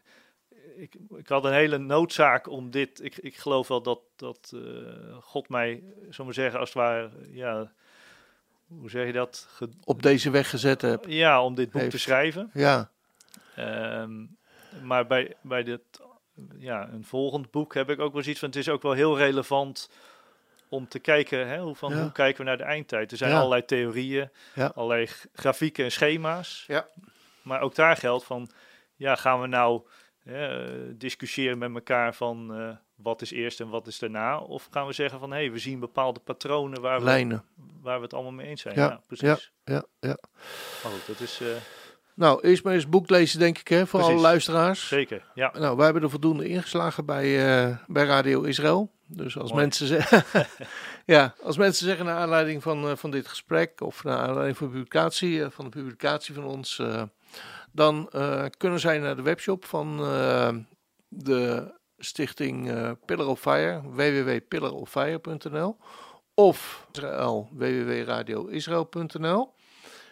S3: ik, ik had een hele noodzaak om dit. Ik, ik geloof wel dat, dat eh, God mij, zo maar zeggen, als het ware, ja, hoe zeg je dat? Ge-
S2: Op deze weg gezet heb.
S3: ja, om dit boek te
S2: Heeft-
S3: schrijven.
S2: Ja,
S3: Ehm, maar bij, bij dit, ja, een volgend boek heb ik ook wel zoiets van... het is ook wel heel relevant om te kijken... Hè, hoe, van,
S2: Ja.
S3: hoe kijken we naar de eindtijd? Er zijn
S2: Ja.
S3: allerlei theorieën,
S2: Ja.
S3: allerlei g- grafieken en schema's.
S2: Ja.
S3: Maar ook daar geldt van... ja, gaan we nou hè, eh, discussiëren met elkaar van... eh, wat is eerst en wat is daarna? Of gaan we zeggen van... hé, hey, we zien bepaalde patronen waar we,
S2: lijnen.
S3: waar we het allemaal mee eens zijn.
S2: Ja,
S3: Ja, precies.
S2: Ja, ja.
S3: Maar goed, dat is eh,
S2: Nou, eerst maar eens boek lezen, denk ik, hè, voor
S3: Precies.
S2: alle luisteraars.
S3: zeker, ja.
S2: Nou, wij hebben er voldoende ingeslagen bij, eh, bij Radio Israël. Dus als
S3: Mooi.
S2: mensen, ze- ja, als mensen zeggen naar aanleiding van, eh, van dit gesprek of naar aanleiding van, de publicatie, eh, van de publicatie van ons, eh, dan eh, kunnen zij naar de webshop van eh, de stichting eh, Pillar of Fire, www.pillaroffire.nl of Israël, www.radioisrael.nl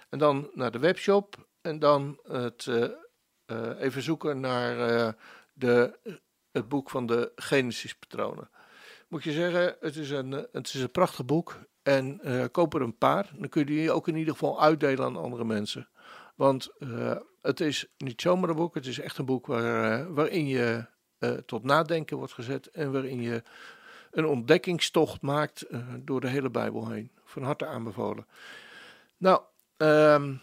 S2: en dan naar de webshop en dan het, eh, eh, even zoeken naar eh, de, het boek van de Genesis-patronen. Moet je zeggen, het is een, eh, het is een prachtig boek. En eh, koop er een paar. Dan kun je die ook in ieder geval uitdelen aan andere mensen. Want eh, het is niet zomaar een boek. Het is echt een boek waar, eh, waarin je eh, tot nadenken wordt gezet. En waarin je een ontdekkingstocht maakt eh, door de hele Bijbel heen. Van harte aanbevolen. Nou, ehm,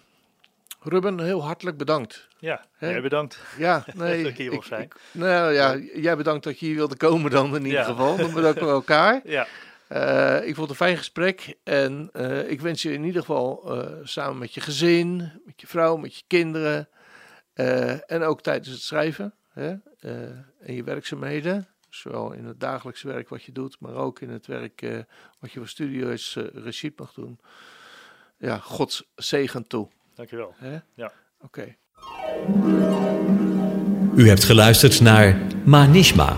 S2: Ruben, heel hartelijk bedankt.
S3: Ja,
S2: Hè?
S3: jij bedankt.
S2: Ja, nee.
S3: Dat ik hier mocht zijn.
S2: nou ja, jij bedankt dat je hier wilde komen dan in ieder
S3: Ja.
S2: geval. Dan bedanken we elkaar.
S3: Ja,
S2: Eh, ik vond het een fijn gesprek en eh, ik wens je in ieder geval eh, samen met je gezin, met je vrouw, met je kinderen eh, en ook tijdens het schrijven hè, eh, en je werkzaamheden, zowel in het dagelijkse werk wat je doet, maar ook in het werk eh, wat je voor studieus eh regie mag doen. Ja, Gods zegen toe.
S3: dankjewel.
S2: Hè?
S3: Ja.
S2: Oké.
S1: U hebt geluisterd naar Manishma.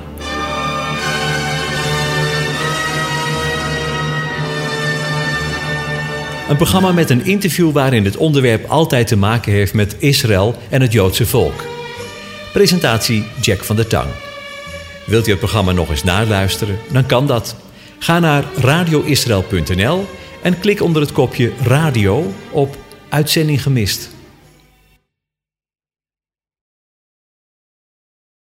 S1: Een programma met een interview waarin het onderwerp altijd te maken heeft met Israël en het Joodse volk. Presentatie Jack van der Tang. Wilt u het programma nog eens naluisteren? Dan kan dat. Ga naar radioisrael.nl en klik onder het kopje radio op Uitzending gemist.